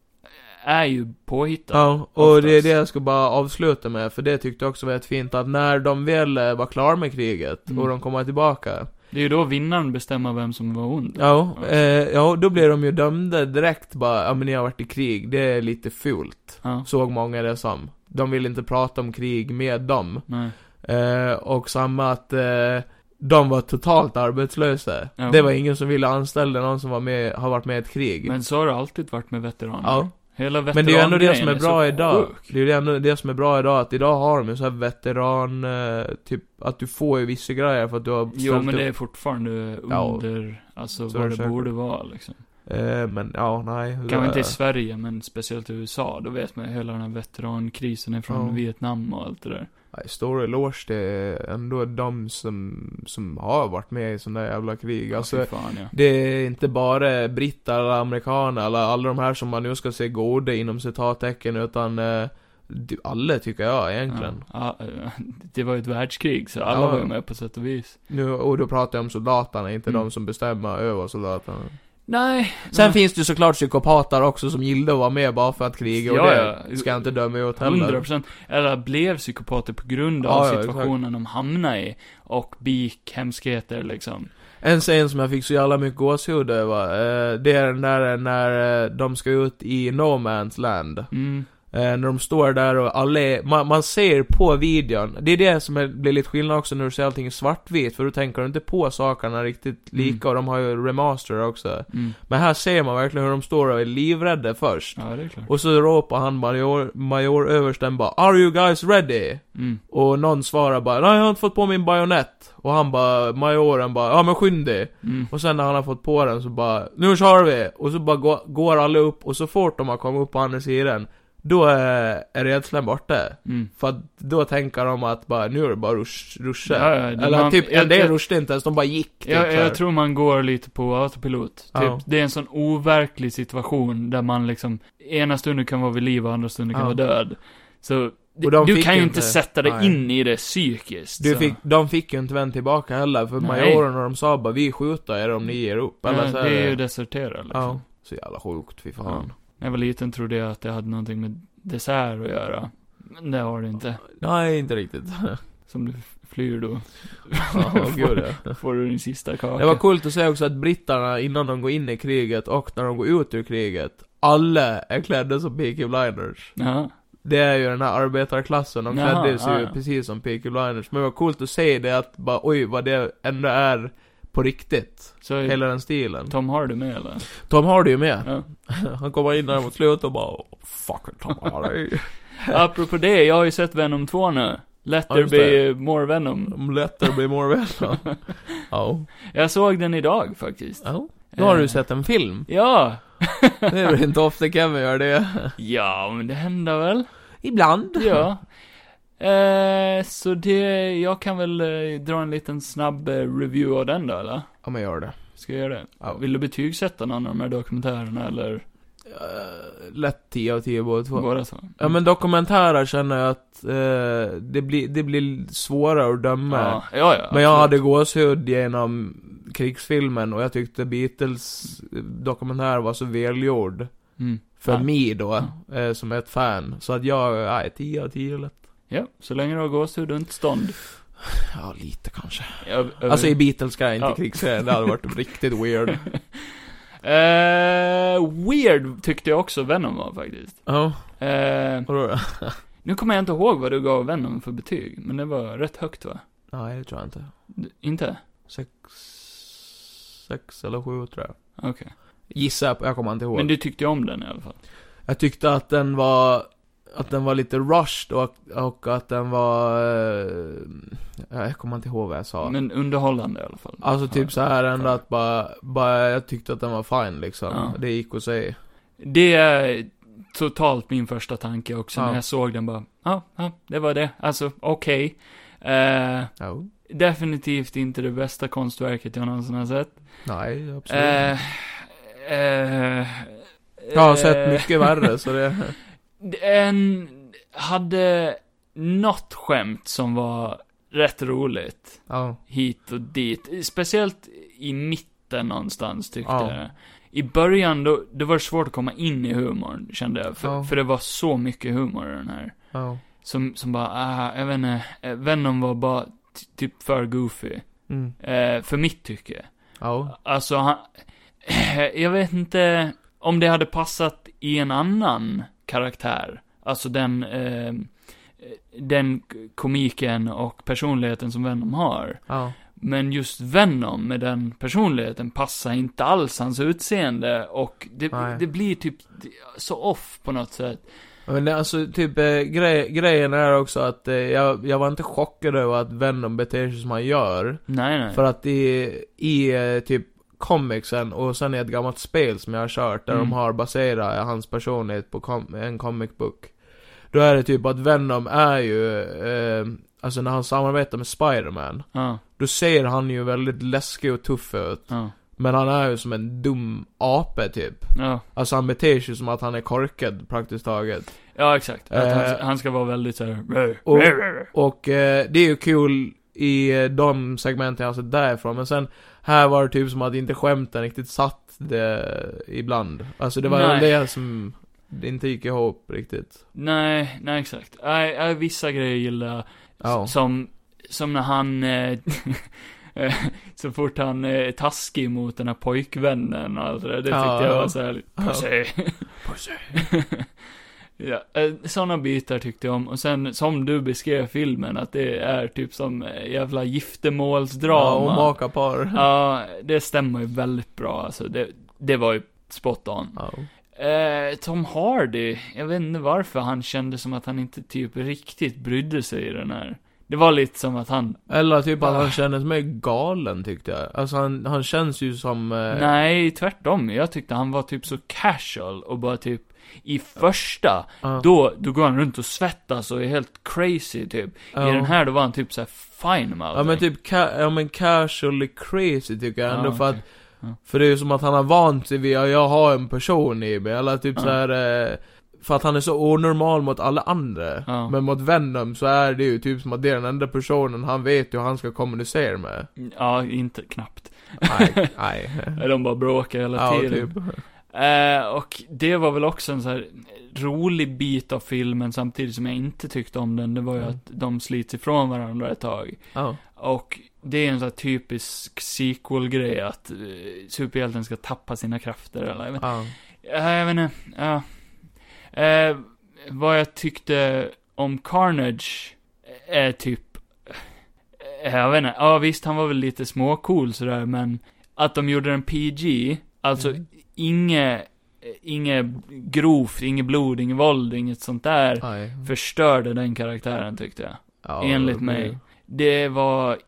Speaker 1: är ju påhittad.
Speaker 2: Ja, och det är
Speaker 1: oftast.
Speaker 2: det jag ska bara avsluta med, för det tyckte jag också var ett fint att när de väl eh, var klara med kriget
Speaker 1: Mm.
Speaker 2: och de kommer tillbaka,
Speaker 1: Det är ju då vinnaren bestämmer vem som var ond.
Speaker 2: ja,
Speaker 1: Ja.
Speaker 2: eh, ja, då blir de ju dömda direkt bara, ja men ni har varit i krig, det är lite fult.
Speaker 1: Ja.
Speaker 2: Såg många det som. De vill inte prata om krig med dem.
Speaker 1: Nej.
Speaker 2: Eh, och samma att eh, de var totalt arbetslösa.
Speaker 1: Ja.
Speaker 2: Det var ingen som ville anställa någon som var med, har varit med i ett krig.
Speaker 1: Men så har det alltid varit med veteraner.
Speaker 2: ja.
Speaker 1: Hela
Speaker 2: Men det är ju ändå det som
Speaker 1: veterangrejen
Speaker 2: är bra
Speaker 1: så
Speaker 2: idag.
Speaker 1: sjuk.
Speaker 2: Det är ju ändå det som är bra idag, att idag har de ju så här veteran, eh, typ, att du får ju vissa grejer för att du har
Speaker 1: Jo, men det
Speaker 2: upp.
Speaker 1: är fortfarande
Speaker 2: Ja.
Speaker 1: under, alltså
Speaker 2: Så är
Speaker 1: vad
Speaker 2: det
Speaker 1: det
Speaker 2: säkert.
Speaker 1: borde vara liksom.
Speaker 2: Eh, men ja, nej.
Speaker 1: Kanske inte i Sverige, men speciellt i USA. Då vet man ju hela den här veterankrisen är från
Speaker 2: Ja.
Speaker 1: Vietnam och allt det där.
Speaker 2: Nej, stor eloge till ändå de som, som har varit med i sådana där jävla krig. Alltså,
Speaker 1: Fy fan, ja.
Speaker 2: det är inte bara britter, alla amerikaner, alla, alla de här som man nu ska se goda inom citattecken, utan eh, du- alla tycker jag egentligen.
Speaker 1: Ja, ja, det var ju ett världskrig, så alla
Speaker 2: Ja.
Speaker 1: var ju med på sätt och vis.
Speaker 2: Nu, och då pratar jag om soldaterna, inte
Speaker 1: Mm.
Speaker 2: de som bestämmer över soldaterna.
Speaker 1: Nej.
Speaker 2: Sen
Speaker 1: nej.
Speaker 2: finns det ju såklart psykopater också som gillar att vara med bara för att kriga och
Speaker 1: Ja,
Speaker 2: det
Speaker 1: ja.
Speaker 2: ska jag inte döma ut heller.
Speaker 1: 100% Eller blev psykopater på grund av
Speaker 2: Ja, ja,
Speaker 1: situationen de hamnade i. Och begick hemskheter liksom.
Speaker 2: En scen som jag fick så jävla mycket gåshud över, eh, det är den där när eh, de ska ut i No Man's Land.
Speaker 1: Mm.
Speaker 2: Eh, när de står där och alla är, man, man ser på videon, det är det som är, blir lite skillnad också när du ser allting i svartvitt, för då tänker du inte på sakerna riktigt lika, och de har ju remaster också.
Speaker 1: Mm.
Speaker 2: Men här ser man verkligen hur de står och är livrädda först.
Speaker 1: Ja, det är klart.
Speaker 2: Och så ropar han major, majoröversten bara 'Are you guys ready?'
Speaker 1: Mm.
Speaker 2: Och någon svarar bara 'Nej, jag har inte fått på min bajonett' Och han bara, majoren bara 'Ja men skynda dig'
Speaker 1: Mm.
Speaker 2: Och sen när han har fått på den så bara 'Nu kör vi!' Och så bara gå, går alla upp och så fort de har kommit upp på andra sidan Då är, är rädslan borta.
Speaker 1: Mm.
Speaker 2: För att då tänker de att bara, nu är det bara rusch, ruscha.
Speaker 1: Ja, ja,
Speaker 2: Eller
Speaker 1: man-
Speaker 2: typ,
Speaker 1: jag
Speaker 2: en del
Speaker 1: tror-
Speaker 2: ruschade inte ens, de bara gick typ
Speaker 1: Jag,
Speaker 2: så här.
Speaker 1: jag tror man går lite på autopilot.
Speaker 2: Ja.
Speaker 1: Typ, det är en sån overklig situation där man liksom, ena stunden kan vara vid liv och andra stunden kan
Speaker 2: Ja.
Speaker 1: vara död. Så,
Speaker 2: Och de
Speaker 1: du
Speaker 2: fick
Speaker 1: kan ju
Speaker 2: ju
Speaker 1: inte
Speaker 2: inte-
Speaker 1: sätta dig
Speaker 2: nej.
Speaker 1: in i det psykiskt.
Speaker 2: Du
Speaker 1: så.
Speaker 2: fick, de fick ju inte vän tillbaka heller, för
Speaker 1: Nej.
Speaker 2: majorerna de sa bara 'Vi skjuter er om ni ger upp' eller
Speaker 1: ja,
Speaker 2: så
Speaker 1: det är ju desertera liksom.
Speaker 2: Ja. Så jävla sjukt, fy fan.
Speaker 1: När jag var liten trodde jag att det hade någonting med dessert att göra. Men det har det inte.
Speaker 2: Nej, inte riktigt.
Speaker 1: Som du flyr då,
Speaker 2: Ja, gud, ja.
Speaker 1: får du din sista kaka.
Speaker 2: Det var coolt att se också att britterna innan de går in i kriget och när de går ut ur kriget, alla är klädda som Peaky Blinders.
Speaker 1: Ja.
Speaker 2: Det är ju den här arbetarklassen, de
Speaker 1: Jaha,
Speaker 2: klädde sig
Speaker 1: ja,
Speaker 2: ju
Speaker 1: ja.
Speaker 2: precis som Peaky Blinders. Men det var coolt att se det att bara, oj vad det ändå är på riktigt.
Speaker 1: Så är
Speaker 2: Hela den stilen.
Speaker 1: Tom Hardy med eller?
Speaker 2: Tom Hardy ju med.
Speaker 1: Ja.
Speaker 2: Han kommer in där mot slutet och bara, oh, fuck Tom Hardy.
Speaker 1: Apropå det, jag har ju sett Venom 2 nu. Let
Speaker 2: Ja,
Speaker 1: there
Speaker 2: just
Speaker 1: be more Venom.
Speaker 2: Om Letter blir more väl. Ja.
Speaker 1: Jag såg den idag faktiskt.
Speaker 2: Ja. Nu har
Speaker 1: Eh,
Speaker 2: du sett en film.
Speaker 1: Ja!
Speaker 2: Det är väl inte ofta Kevin gör det.
Speaker 1: Ja, men det händer väl?
Speaker 2: Ibland.
Speaker 1: Ja. Eh, så det, jag kan väl eh, dra en liten snabb eh, review av den då, eller?
Speaker 2: Ja, men gör det.
Speaker 1: Ska jag göra det?
Speaker 2: Ja.
Speaker 1: Vill du betygsätta någon av de här dokumentärerna, eller
Speaker 2: Eh, lätt 10 av 10 båda två.
Speaker 1: båda två?
Speaker 2: Ja men dokumentärer känner jag att eh, det, blir, det blir svårare att döma.
Speaker 1: Ja, ja, ja
Speaker 2: men jag
Speaker 1: absolut.
Speaker 2: hade gåshud genom krigsfilmen och jag tyckte Beatles dokumentär var så välgjord.
Speaker 1: Mm.
Speaker 2: För
Speaker 1: Ja. Mm.
Speaker 2: mig då, eh, som ett fan. Så att jag, nej, 10 av 10 lätt.
Speaker 1: Ja, så länge du har gåshud och inte stånd.
Speaker 2: Ja, lite kanske.
Speaker 1: Jag,
Speaker 2: Alltså i Beatles ska jag inte
Speaker 1: Ja.
Speaker 2: krigsfilm, det hade varit riktigt weird.
Speaker 1: eh, Weird tyckte jag också Venom var faktiskt.
Speaker 2: Ja,
Speaker 1: Eh,
Speaker 2: vadå?
Speaker 1: nu kommer jag inte ihåg vad du gav Venom för betyg, men det var rätt högt va?
Speaker 2: Nej, det tror jag inte.
Speaker 1: D- inte?
Speaker 2: Sex, sex eller sju tror jag.
Speaker 1: Okej.
Speaker 2: Gissa, på- jag kommer inte ihåg.
Speaker 1: Men du tyckte om den i alla fall?
Speaker 2: Jag tyckte att den var, att den var lite rushed och, och att den var, eh, jag kommer inte ihåg vad jag sa.
Speaker 1: Men underhållande i alla fall?
Speaker 2: alltså typ så här ändå
Speaker 1: Ja.
Speaker 2: att bara, bara, jag tyckte att den var fin liksom.
Speaker 1: Ja.
Speaker 2: Det gick att säga.
Speaker 1: Det är totalt min första tanke också
Speaker 2: Ja.
Speaker 1: när jag såg den bara, ja, ja, det var det. Alltså, okej. Eh,
Speaker 2: Ja.
Speaker 1: definitivt inte det bästa konstverket jag någonsin har sett.
Speaker 2: Nej, absolut
Speaker 1: Eh,
Speaker 2: inte.
Speaker 1: eh,
Speaker 2: Jag har
Speaker 1: eh,
Speaker 2: sett mycket värre så det,
Speaker 1: Den hade något skämt som var rätt roligt.
Speaker 2: ja.
Speaker 1: Hit och dit. Speciellt i mitten någonstans tyckte
Speaker 2: Ja.
Speaker 1: jag det. I början då, det var det svårt att komma in i humorn, kände jag. För,
Speaker 2: Ja.
Speaker 1: för det var så mycket humor i den här.
Speaker 2: ja.
Speaker 1: Som, som bara, ah, jag vet inte, eh, Venom var bara ty- typ för goofy.
Speaker 2: Mm.
Speaker 1: Eh, för mitt tycke.
Speaker 2: Ja.
Speaker 1: Alltså, han, jag vet inte om det hade passat i en annan karaktär. Alltså den, eh, den komiken och personligheten som Venom har.
Speaker 2: Ja.
Speaker 1: Men just Venom med den personligheten passar inte alls hans utseende och det,
Speaker 2: Nej.
Speaker 1: det blir typ så off på något sätt.
Speaker 2: Men det, alltså typ eh, grej, grejen är också att eh, jag, jag var inte chockad över att Venom beter sig som han gör.
Speaker 1: Nej, nej.
Speaker 2: För att i, i eh, typ comicsen och sen i ett gammalt spel som jag har kört där
Speaker 1: Mm.
Speaker 2: de har baserat hans personlighet på com en comic book. Då är det typ att Venom är ju, eh, alltså när han samarbetar med Spider-Man.
Speaker 1: Ja,
Speaker 2: Då ser han ju väldigt läskig och tuff ut.
Speaker 1: ja,
Speaker 2: Men han är ju som en dum ape typ.
Speaker 1: ja.
Speaker 2: Alltså han beter sig som att han är korkad praktiskt taget.
Speaker 1: Ja, exakt. Att han,
Speaker 2: Eh,
Speaker 1: han ska vara väldigt såhär...
Speaker 2: och- Och eh, det är ju kul i eh, de segmenten jag har sett därifrån. Men sen, här var det typ som att inte skämten riktigt satt det ibland. Alltså det var
Speaker 1: Nej.
Speaker 2: det som det inte gick ihop riktigt.
Speaker 1: Nej, nej exakt. Nej, nej, vissa grejer gillar jag. S-
Speaker 2: Ja.
Speaker 1: Som, som när han, eh, eh, så fort han eh, är taskig mot den här pojkvännen och allt det där. Det tyckte
Speaker 2: Ja,
Speaker 1: jag var
Speaker 2: ja.
Speaker 1: såhär,
Speaker 2: Ja.
Speaker 1: pussy. ja, sådana bitar tyckte jag om. Och sen, som du beskrev filmen, att det är typ som eh, jävla
Speaker 2: Ja, och
Speaker 1: giftermålsdrama.
Speaker 2: maka par.
Speaker 1: Ja, det stämmer ju väldigt bra alltså. Det, det var ju spot on.
Speaker 2: Ja.
Speaker 1: Eh, Tom Hardy, jag vet inte varför han kände som att han inte typ riktigt brydde sig i den här. Det var lite som att han,
Speaker 2: Eller typ
Speaker 1: Ah.
Speaker 2: att han kändes mer galen tyckte jag. Alltså han, han känns ju som... Eh,
Speaker 1: nej tvärtom, jag tyckte han var typ så casual och bara typ i första,
Speaker 2: ja.
Speaker 1: då, då går han runt och svettas och är helt crazy typ.
Speaker 2: Ja.
Speaker 1: I den här då var han typ såhär fine med
Speaker 2: Ja men
Speaker 1: allting.
Speaker 2: typ, ca- ja men casually crazy tycker jag
Speaker 1: Ja,
Speaker 2: ändå för att
Speaker 1: okej. Ja.
Speaker 2: För det är ju som att han har vant sig vid att jag har en person i mig, eller typ
Speaker 1: Ja.
Speaker 2: så här. eh, För att han är så onormal mot alla andra
Speaker 1: Ja.
Speaker 2: Men mot Venom så är det ju typ som att det är den enda personen han vet hur han ska kommunicera med
Speaker 1: Ja, inte knappt.
Speaker 2: Nej, nej
Speaker 1: De bara bråkar hela
Speaker 2: Ja,
Speaker 1: tiden.
Speaker 2: typ
Speaker 1: Eh, och det var väl också en så här rolig bit av filmen samtidigt som jag inte tyckte om den. Det var ju
Speaker 2: Mm.
Speaker 1: att de slits ifrån varandra ett tag.
Speaker 2: Ja,
Speaker 1: Och det är en sån här typisk sequel-grej att eh, superhjälten ska tappa sina krafter eller jag vet,
Speaker 2: ja,
Speaker 1: uh, jag vet inte. ja. Eh, vad jag tyckte om Carnage är typ, eh, jag vet inte, ja visst han var väl lite småcool sådär men att de gjorde den PG, alltså
Speaker 2: Mm.
Speaker 1: inget, inget grovt, inget blod, inget våld, inget sånt där
Speaker 2: nej
Speaker 1: förstörde den karaktären tyckte jag.
Speaker 2: ja,
Speaker 1: enligt mig. Det var i-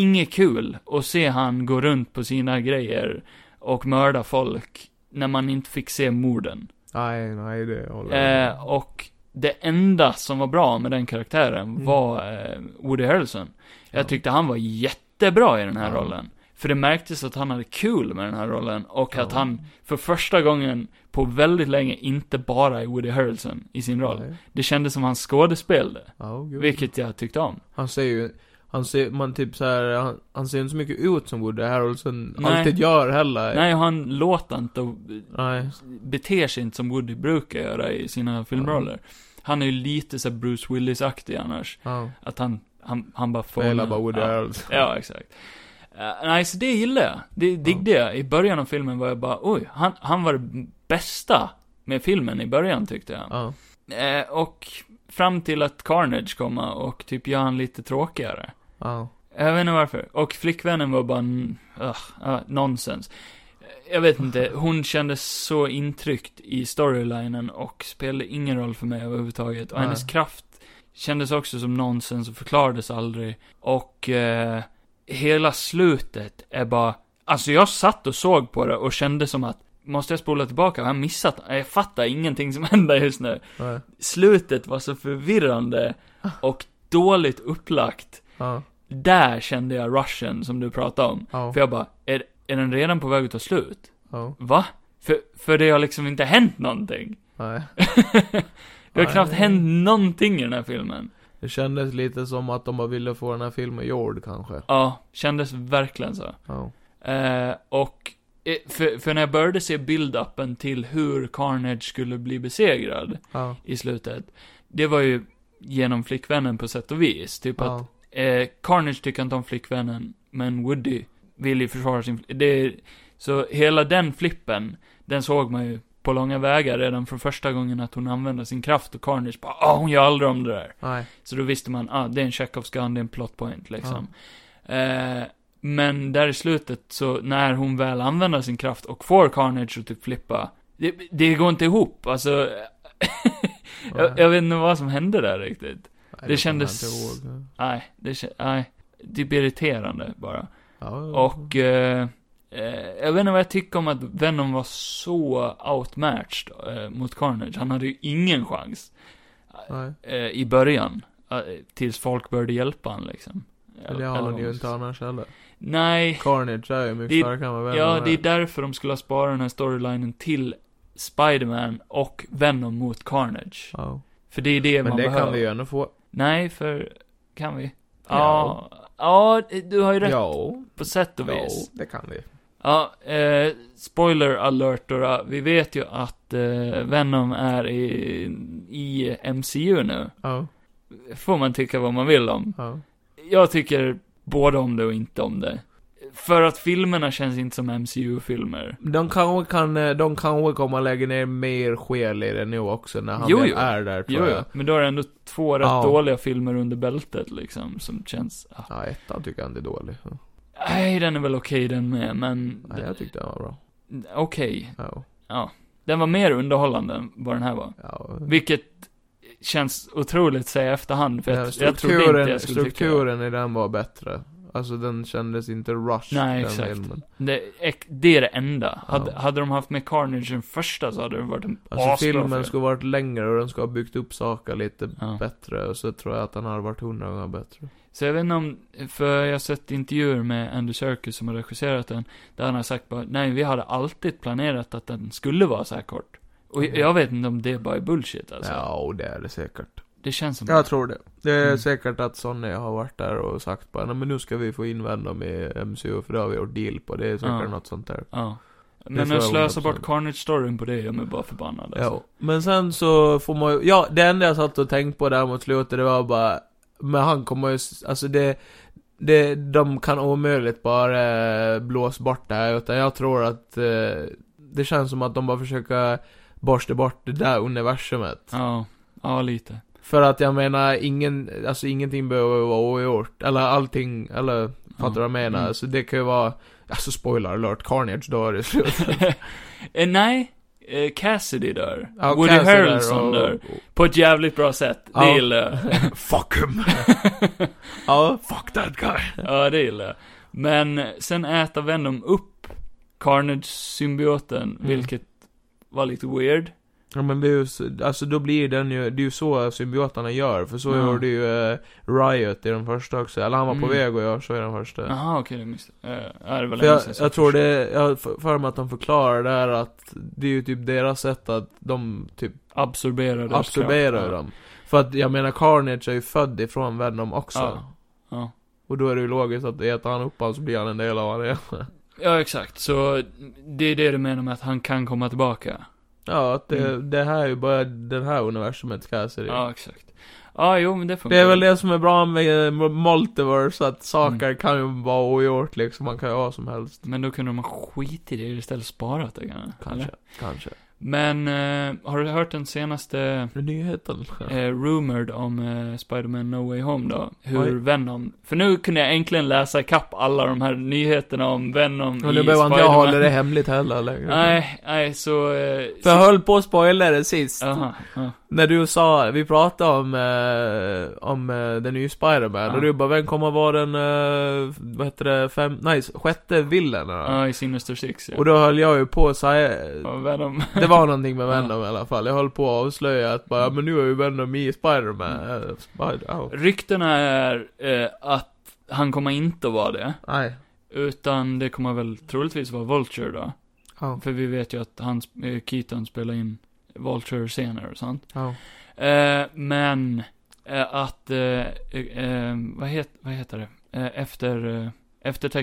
Speaker 1: inget kul att se han gå runt på sina grejer och mörda folk när man inte fick se morden.
Speaker 2: Nej, nej det håller jag
Speaker 1: Eh, och det enda som var bra med den karaktären
Speaker 2: Mm.
Speaker 1: var eh, Woody Harrelson.
Speaker 2: Ja.
Speaker 1: Jag tyckte han var jättebra i den här
Speaker 2: Ja.
Speaker 1: rollen. För det märktes att han hade kul med den här rollen och att
Speaker 2: Ja.
Speaker 1: han för första gången på väldigt länge inte bara är Woody Harrelson i sin roll.
Speaker 2: Nej.
Speaker 1: Det kändes som han skådespelade,
Speaker 2: Ja, gud.
Speaker 1: vilket jag tyckte om.
Speaker 2: Han ser ju, han ser, man typ så här, han, han ser inte så mycket ut som Woody Harrelson
Speaker 1: Nej.
Speaker 2: alltid gör heller.
Speaker 1: Nej, han låter inte och
Speaker 2: Nej.
Speaker 1: beter sig inte som Woody brukar göra i sina filmroller. Han är ju lite så här Bruce Willis-aktig annars.
Speaker 2: Ja.
Speaker 1: Att han, han, han bara får...
Speaker 2: Jag gillar bara Woody
Speaker 1: ja.
Speaker 2: Harrelson.
Speaker 1: ja, exakt. Eh, nej, så det gillar jag. Det diggade jag. I början av filmen var jag bara, oj, han, han var det bästa med filmen i början tyckte jag.
Speaker 2: Ja.
Speaker 1: Eh, och fram till att Carnage komma och typ gör han lite tråkigare.
Speaker 2: Ja.
Speaker 1: Jag vet inte varför. Och flickvännen var bara en, ugh, ah, nonsens. Jag vet inte, hon kändes så intryckt i storylinen och spelade ingen roll för mig överhuvudtaget. Och
Speaker 2: Nej.
Speaker 1: hennes kraft kändes också som nonsens och förklarades aldrig. Och eh, hela slutet är bara, alltså jag satt och såg på det och kände som att, måste jag spola tillbaka? Har jag missat? Jag fattar ingenting som händer just nu.
Speaker 2: Ja.
Speaker 1: Slutet var så förvirrande och dåligt upplagt.
Speaker 2: Ja.
Speaker 1: Där kände jag rushen som du pratade om.
Speaker 2: Ja.
Speaker 1: För jag bara, är, är den redan på väg att ta slut?
Speaker 2: Ja.
Speaker 1: Va? För, för det har liksom inte hänt någonting.
Speaker 2: Nej.
Speaker 1: det har
Speaker 2: Nej.
Speaker 1: knappt hänt någonting i den här filmen.
Speaker 2: Det kändes lite som att de bara ville få den här filmen gjord kanske.
Speaker 1: Ja, kändes verkligen så.
Speaker 2: Ja.
Speaker 1: Eh, och, eh, för, för när jag började se build-upen till hur Carnage skulle bli besegrad
Speaker 2: Ja.
Speaker 1: i slutet, det var ju genom flickvännen på sätt och vis. Typ att
Speaker 2: Ja.
Speaker 1: Eh, Carnage tycker inte om flickvännen, men Woody vill ju försvara sin fl- det, är- Så hela den flippen, den såg man ju på långa vägar redan från första gången att hon använde sin kraft och Carnage bara ah hon gör aldrig om det där.
Speaker 2: Nej.
Speaker 1: Så då visste man, ah det är en Chekhovs gun, det är en plot point liksom. Eh, men där i slutet, så när hon väl använder sin kraft och får Carnage att typ flippa, det, det går inte ihop. Alltså, jag, jag vet inte vad som hände där riktigt. det
Speaker 2: Nej, kommer
Speaker 1: kändes-
Speaker 2: jag inte ihåg.
Speaker 1: Nej, det kän- nej. Typ irriterande bara.
Speaker 2: Ja,
Speaker 1: Och, eh, eh, jag vet inte vad jag tycker om att Venom var så outmatched eh, mot Carnage. Han hade ju ingen chans
Speaker 2: Nej,
Speaker 1: eh, i början. Eh, tills folk började hjälpa han liksom.
Speaker 2: men det har han
Speaker 1: vad
Speaker 2: ju
Speaker 1: man
Speaker 2: inte
Speaker 1: ska-
Speaker 2: annars heller.
Speaker 1: Nej,
Speaker 2: Carnage är ju mycket
Speaker 1: Det-
Speaker 2: starkare än vad Venom
Speaker 1: Ja, det är därför de skulle ha sparat den här storylinen till Spider-Man och Venom mot Carnage.
Speaker 2: Ja.
Speaker 1: För det är det
Speaker 2: Men
Speaker 1: man
Speaker 2: det
Speaker 1: behöver.
Speaker 2: kan vi ju ändå få.
Speaker 1: Nej, för... Kan vi? Ja.
Speaker 2: Ja.
Speaker 1: Ja, du har ju rätt
Speaker 2: Ja,
Speaker 1: på sätt och
Speaker 2: ja,
Speaker 1: vis.
Speaker 2: det kan vi.
Speaker 1: Ja, eh, spoiler alert då, då. Vi vet ju att eh, Venom är i, i MCU nu.
Speaker 2: Ja,
Speaker 1: Får man tycka vad man vill om.
Speaker 2: ja.
Speaker 1: Jag tycker både om det och inte om det. För att filmerna känns inte som MCU-filmer.
Speaker 2: De kanske kan, eh, de kanske kommer lägga ner mer själ i det nu också när han
Speaker 1: Jo,
Speaker 2: väl
Speaker 1: jo.
Speaker 2: är där tror
Speaker 1: Jo, jo.
Speaker 2: jag.
Speaker 1: men då är det ändå två rätt
Speaker 2: Ja.
Speaker 1: dåliga filmer under bältet liksom, som känns... ah.
Speaker 2: Ja, ettan tycker jag inte är dålig. Ja.
Speaker 1: Nej, den är väl okej den med, men...
Speaker 2: Nej, jag tyckte den var bra.
Speaker 1: Okej.
Speaker 2: Ja,
Speaker 1: Den var mer underhållande än vad den här var.
Speaker 2: ja.
Speaker 1: Vilket känns otroligt att säga i efterhand, för
Speaker 2: Den
Speaker 1: jag, jag trodde
Speaker 2: strukturen,
Speaker 1: inte jag skulle tycka
Speaker 2: strukturen i den var bättre. Alltså den kändes inte rush.
Speaker 1: Nej,
Speaker 2: den
Speaker 1: exakt.
Speaker 2: filmen.
Speaker 1: det. Det, det är det enda. Hade,
Speaker 2: Ja.
Speaker 1: hade de haft med Carnage den första så hade det varit en
Speaker 2: Alltså
Speaker 1: asbra
Speaker 2: filmen
Speaker 1: film.
Speaker 2: skulle varit längre och den skulle ha byggt upp saker lite
Speaker 1: Ja.
Speaker 2: bättre. Och så tror jag att den hade varit hundra gånger bättre.
Speaker 1: Så jag vet inte om, för jag har sett intervjuer med Andy Serkis som har regisserat den, där han har sagt bara, nej vi hade alltid planerat att den skulle vara så här kort. Och jag- jag vet inte om det bara är bullshit alltså.
Speaker 2: Mm. Ja, och det är det säkert.
Speaker 1: Det känns som
Speaker 2: Jag tror det. Det är
Speaker 1: Mm.
Speaker 2: säkert att Sonny har varit där och sagt bara, nej men nu ska vi få in Venom i MCU för det har vi gjort deal på. Det är säkert
Speaker 1: Ja.
Speaker 2: något sånt där.
Speaker 1: Ja.
Speaker 2: Det
Speaker 1: Men
Speaker 2: tror
Speaker 1: att
Speaker 2: jag
Speaker 1: slösa
Speaker 2: 100%.
Speaker 1: bort Carnage-storyn på det gör mig bara förbannad alltså.
Speaker 2: Ja, men sen så får man ju, ja det enda jag satt och tänkte på där mot slutet det var bara, men han kommer ju, s- alltså det, det, de kan omöjligt bara eh, blåsa bort det här utan jag tror att eh, det känns som att de bara försöker borsta bort det där universumet.
Speaker 1: Ja. Ja, lite.
Speaker 2: För att jag menar, ingen, alltså ingenting behöver vara ogjort, eller allting, eller fattar du vad jag menar?
Speaker 1: Mm.
Speaker 2: Så det kan ju vara, alltså spoiler alert, Carnage dör i slutet.
Speaker 1: eh, nej. Eh, Cassidy dör.
Speaker 2: Ja,
Speaker 1: Woody
Speaker 2: Cassidy där
Speaker 1: Harrelson
Speaker 2: och-
Speaker 1: dör. På ett jävligt bra sätt. Det
Speaker 2: Ja.
Speaker 1: gillar jag.
Speaker 2: Fuck him! ja, fuck that guy.
Speaker 1: Ja, det gillar jag. Men sen äter Venom upp Carnage-symbioten,
Speaker 2: Mm.
Speaker 1: vilket var lite weird.
Speaker 2: Ja men det är ju, så- alltså då blir den ju, det är ju så symbioterna gör, för så
Speaker 1: Ja.
Speaker 2: gjorde ju eh, Riot i den första också, eller han var på
Speaker 1: Mm.
Speaker 2: väg att göra så i den första.
Speaker 1: Jaha, okej, det missade uh, det var
Speaker 2: För
Speaker 1: länge
Speaker 2: jag,
Speaker 1: sedan. så
Speaker 2: jag tror
Speaker 1: förstår.
Speaker 2: det, jag har för för mig att de förklarar det här att det är ju typ deras sätt att de typ
Speaker 1: Absorberar deras
Speaker 2: absorberar
Speaker 1: kraft.
Speaker 2: dem. För att jag menar Carnage är ju född ifrån Venom också.
Speaker 1: Ja. Ja.
Speaker 2: Och då är det ju logiskt att äter han upp honom så blir han en del av honom igen.
Speaker 1: ja, exakt. Så det är det du menar med att han kan komma tillbaka.
Speaker 2: Ja, att det,
Speaker 1: Mm.
Speaker 2: det här är ju bara den här universumet Cassidy.
Speaker 1: Ja, exakt. Ja, jo, men det funkar. Mm.
Speaker 2: Det är väl det som är bra med eh, multiverse, att saker kan ju vara ogjort liksom, man kan ju ha vad som helst.
Speaker 1: Men då kunde de ha skitit i det istället sparat det kanske.
Speaker 2: Kanske,
Speaker 1: eller?
Speaker 2: kanske.
Speaker 1: Men, eh, har du hört den senaste
Speaker 2: Nyheten.
Speaker 1: eh, rumored om eh, Spider-Man No Way Home då. Hur
Speaker 2: Oj.
Speaker 1: Venom, för nu kunde jag äntligen läsa kapp alla de här nyheterna om Venom
Speaker 2: Och
Speaker 1: i
Speaker 2: nu behöver inte jag
Speaker 1: Spider-Man.
Speaker 2: hålla det hemligt heller längre.
Speaker 1: Nej, nej, så... Eh,
Speaker 2: För jag höll på att spoila det sist.
Speaker 1: Aha, ja.
Speaker 2: När du sa, vi pratade om, eh, om eh, den nya Spider-Man,
Speaker 1: Ja.
Speaker 2: och du bara, vem kommer vara den, eh, vad heter det, fem, nej, sjätte villen då?
Speaker 1: ja, i Sinister Six ja.
Speaker 2: Och då höll jag ju på att säga,
Speaker 1: Ja, Venom.
Speaker 2: Det var någonting med
Speaker 1: Ja.
Speaker 2: Venom i alla fall. Jag höll på att avslöja att bara, men nu är ju Venom i Spider-Man.
Speaker 1: Mm.
Speaker 2: Eh, Spider oh.
Speaker 1: Ryktena är eh, att han kommer inte att vara det.
Speaker 2: Nej.
Speaker 1: Utan det kommer väl troligtvis vara Vulture då.
Speaker 2: Oh.
Speaker 1: För vi vet ju att han, sp- eh, Keaton spelar in Vulture senare och sånt.
Speaker 2: Oh.
Speaker 1: Eh, men eh, att, eh, eh, vad, het, vad heter det? Eh, efter, eh,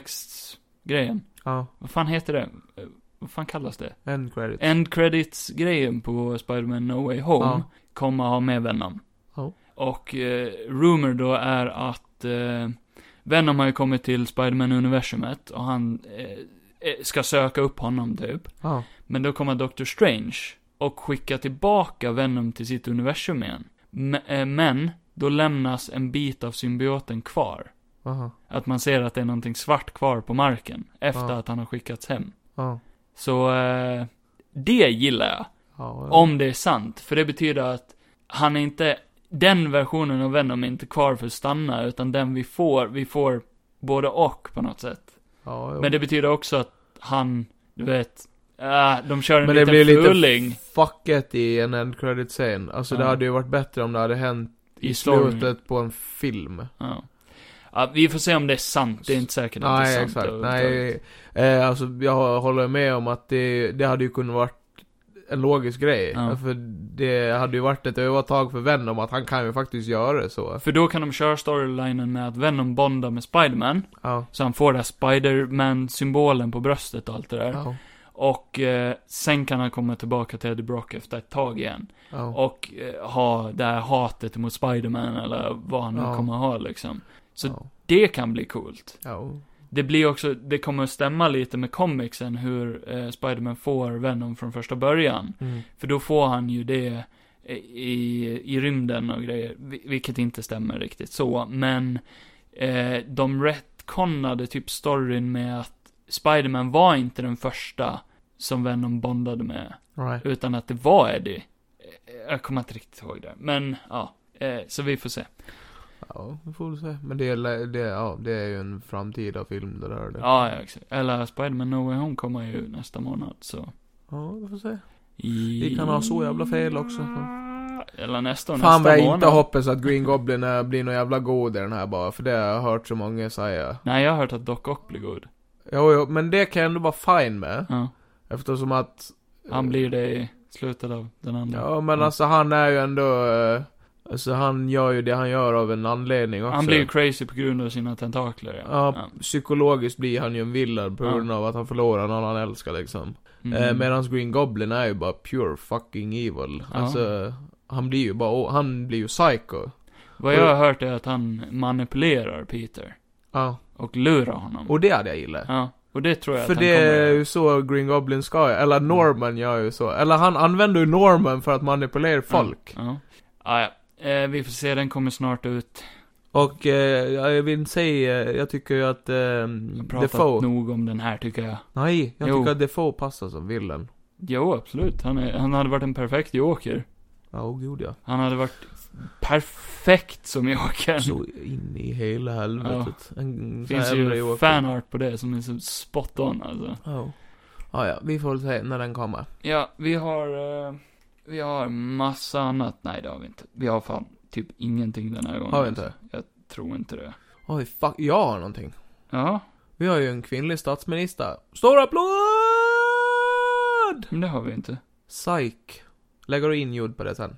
Speaker 1: eftertextgrejen.
Speaker 2: Oh.
Speaker 1: Vad fan heter det? Eh, vad fan kallas det?
Speaker 2: End credit.
Speaker 1: End credits-grejen på Spider-Man No Way Home
Speaker 2: Ja.
Speaker 1: kommer ha med Venom.
Speaker 2: Ja.
Speaker 1: Och eh, rumor då är att eh, Venom har ju kommit till Spider-Man-universumet och han eh, eh, ska söka upp honom typ.
Speaker 2: Ja.
Speaker 1: Men då kommer Doctor Strange och skickar tillbaka Venom till sitt universum igen. M- eh, men, då lämnas en bit av symbioten kvar.
Speaker 2: Ja. Aha.
Speaker 1: Att man ser att det är någonting svart kvar på marken efter
Speaker 2: Ja.
Speaker 1: att han har skickats hem.
Speaker 2: Ja.
Speaker 1: Så, eh, det gillar jag.
Speaker 2: Ja, ja.
Speaker 1: Om det är sant. För det betyder att han är inte, den versionen av Venom är inte kvar för att stanna, utan den vi får, vi får både och på något sätt.
Speaker 2: Ja, jo.
Speaker 1: Men det betyder också att han, du vet, äh, de kör en
Speaker 2: Men det
Speaker 1: liten
Speaker 2: blir
Speaker 1: fuling
Speaker 2: lite fucket i en end credit scene. Alltså det
Speaker 1: Ja.
Speaker 2: hade ju varit bättre om det hade hänt i
Speaker 1: i storyn.
Speaker 2: slutet på en film.
Speaker 1: Ja. ja. Vi får se om det är sant, det är inte säkert att det är
Speaker 2: Nej,
Speaker 1: sant.
Speaker 2: exakt.
Speaker 1: överhuvudtaget.
Speaker 2: Nej, eh, alltså jag håller med om att det, det hade ju kunnat varit en logisk grej.
Speaker 1: Ja.
Speaker 2: För det hade ju varit ett övertag för Venom att han kan ju faktiskt göra det så.
Speaker 1: För då kan de köra storylinen med att Venom bondar med Spiderman,
Speaker 2: Ja.
Speaker 1: så han får den här Spiderman-symbolen på bröstet och allt det där.
Speaker 2: Ja.
Speaker 1: Och eh, sen kan han komma tillbaka till Eddie Brock efter ett tag igen.
Speaker 2: Ja.
Speaker 1: Och eh, ha det här hatet mot Spiderman eller vad han nu
Speaker 2: Ja.
Speaker 1: kommer ha liksom. Så
Speaker 2: Ja.
Speaker 1: det kan bli coolt.
Speaker 2: Ja.
Speaker 1: Det blir också, det kommer att stämma lite med comicsen hur eh, Spiderman får Venom från första början.
Speaker 2: Mm.
Speaker 1: För då får han ju det i, i rymden och grejer, vi- vilket inte stämmer riktigt så, men eh, de retconnade typ storyn med att Spiderman var inte den första som Venom bondade med,
Speaker 2: Right.
Speaker 1: utan att det var Eddie. Eh, Jag kommer inte riktigt ihåg det, men ja, eh, så vi får se.
Speaker 2: Ja, vi får väl se. Men det, är- det, ja, det är ju en framtida film det där. Det.
Speaker 1: Ja, ja, exakt. Eller Spiderman No Way Home kommer ju nästa månad, så.
Speaker 2: ja, vi får se.
Speaker 1: I...
Speaker 2: Vi kan ha så jävla fel också.
Speaker 1: Eller nästa och
Speaker 2: Fan vad
Speaker 1: nästa
Speaker 2: jag inte
Speaker 1: månad.
Speaker 2: hoppas att Green Goblin eh, blir någon jävla god i den här bara, för det har jag hört så många säga.
Speaker 1: Nej, jag har hört att Doc Ock blir god.
Speaker 2: Jo, jo, men det kan jag ändå vara fine med.
Speaker 1: Ja.
Speaker 2: Eftersom att...
Speaker 1: Han blir det i slutet av den andra.
Speaker 2: Ja, men alltså han är ju ändå... eh, Alltså han gör ju det han gör av en anledning också.
Speaker 1: Han blir ju crazy på grund av sina tentakler, ja.
Speaker 2: Ja, psykologiskt blir han ju en villad på
Speaker 1: Ja.
Speaker 2: grund av att han förlorar någon han älskar liksom.
Speaker 1: Mm.
Speaker 2: Eh, Medan Green Goblin är ju bara pure fucking evil.
Speaker 1: Ja.
Speaker 2: Alltså, han blir ju bara... oh, Han blir ju psycho.
Speaker 1: Vad jag har hört är att han manipulerar Peter.
Speaker 2: Ja.
Speaker 1: Och lurar honom.
Speaker 2: Och det hade jag gillat.
Speaker 1: Ja. Och det tror jag
Speaker 2: För
Speaker 1: att han
Speaker 2: det är
Speaker 1: kommer...
Speaker 2: ju så Green Goblin ska göra. Eller Norman gör ju så. Eller han använder ju Norman för att
Speaker 1: Mm.
Speaker 2: manipulera folk.
Speaker 1: Ja. Ah, ja. Eh, vi får se, den kommer snart ut.
Speaker 2: Och eh, jag vill säga, jag tycker ju att eh,
Speaker 1: Jag har pratat
Speaker 2: Defoe...
Speaker 1: nog om den här, tycker jag.
Speaker 2: Nej, jag
Speaker 1: Jo.
Speaker 2: tycker att Defoe passar som villen.
Speaker 1: Jo, absolut. Han, är, han hade varit en perfekt joker.
Speaker 2: Ja, oh, gud ja.
Speaker 1: Han hade varit perfekt som joker.
Speaker 2: Så in i hela helvetet. En
Speaker 1: Det finns
Speaker 2: sån här äldre
Speaker 1: ju
Speaker 2: Joker.
Speaker 1: fanart på det som är så spot on, alltså.
Speaker 2: Ja. Ja, ja, vi får väl se när den kommer.
Speaker 1: Ja, vi har... eh, vi har massa annat. Nej, det har vi inte. Vi har fan typ ingenting den här gången.
Speaker 2: Har vi inte?
Speaker 1: Tror inte det.
Speaker 2: Oj, fuck, jag har någonting.
Speaker 1: Ja,
Speaker 2: Vi har ju en kvinnlig statsminister. Stor applåd!
Speaker 1: men det har vi inte.
Speaker 2: Psyk. Lägger du in ljud på det sen?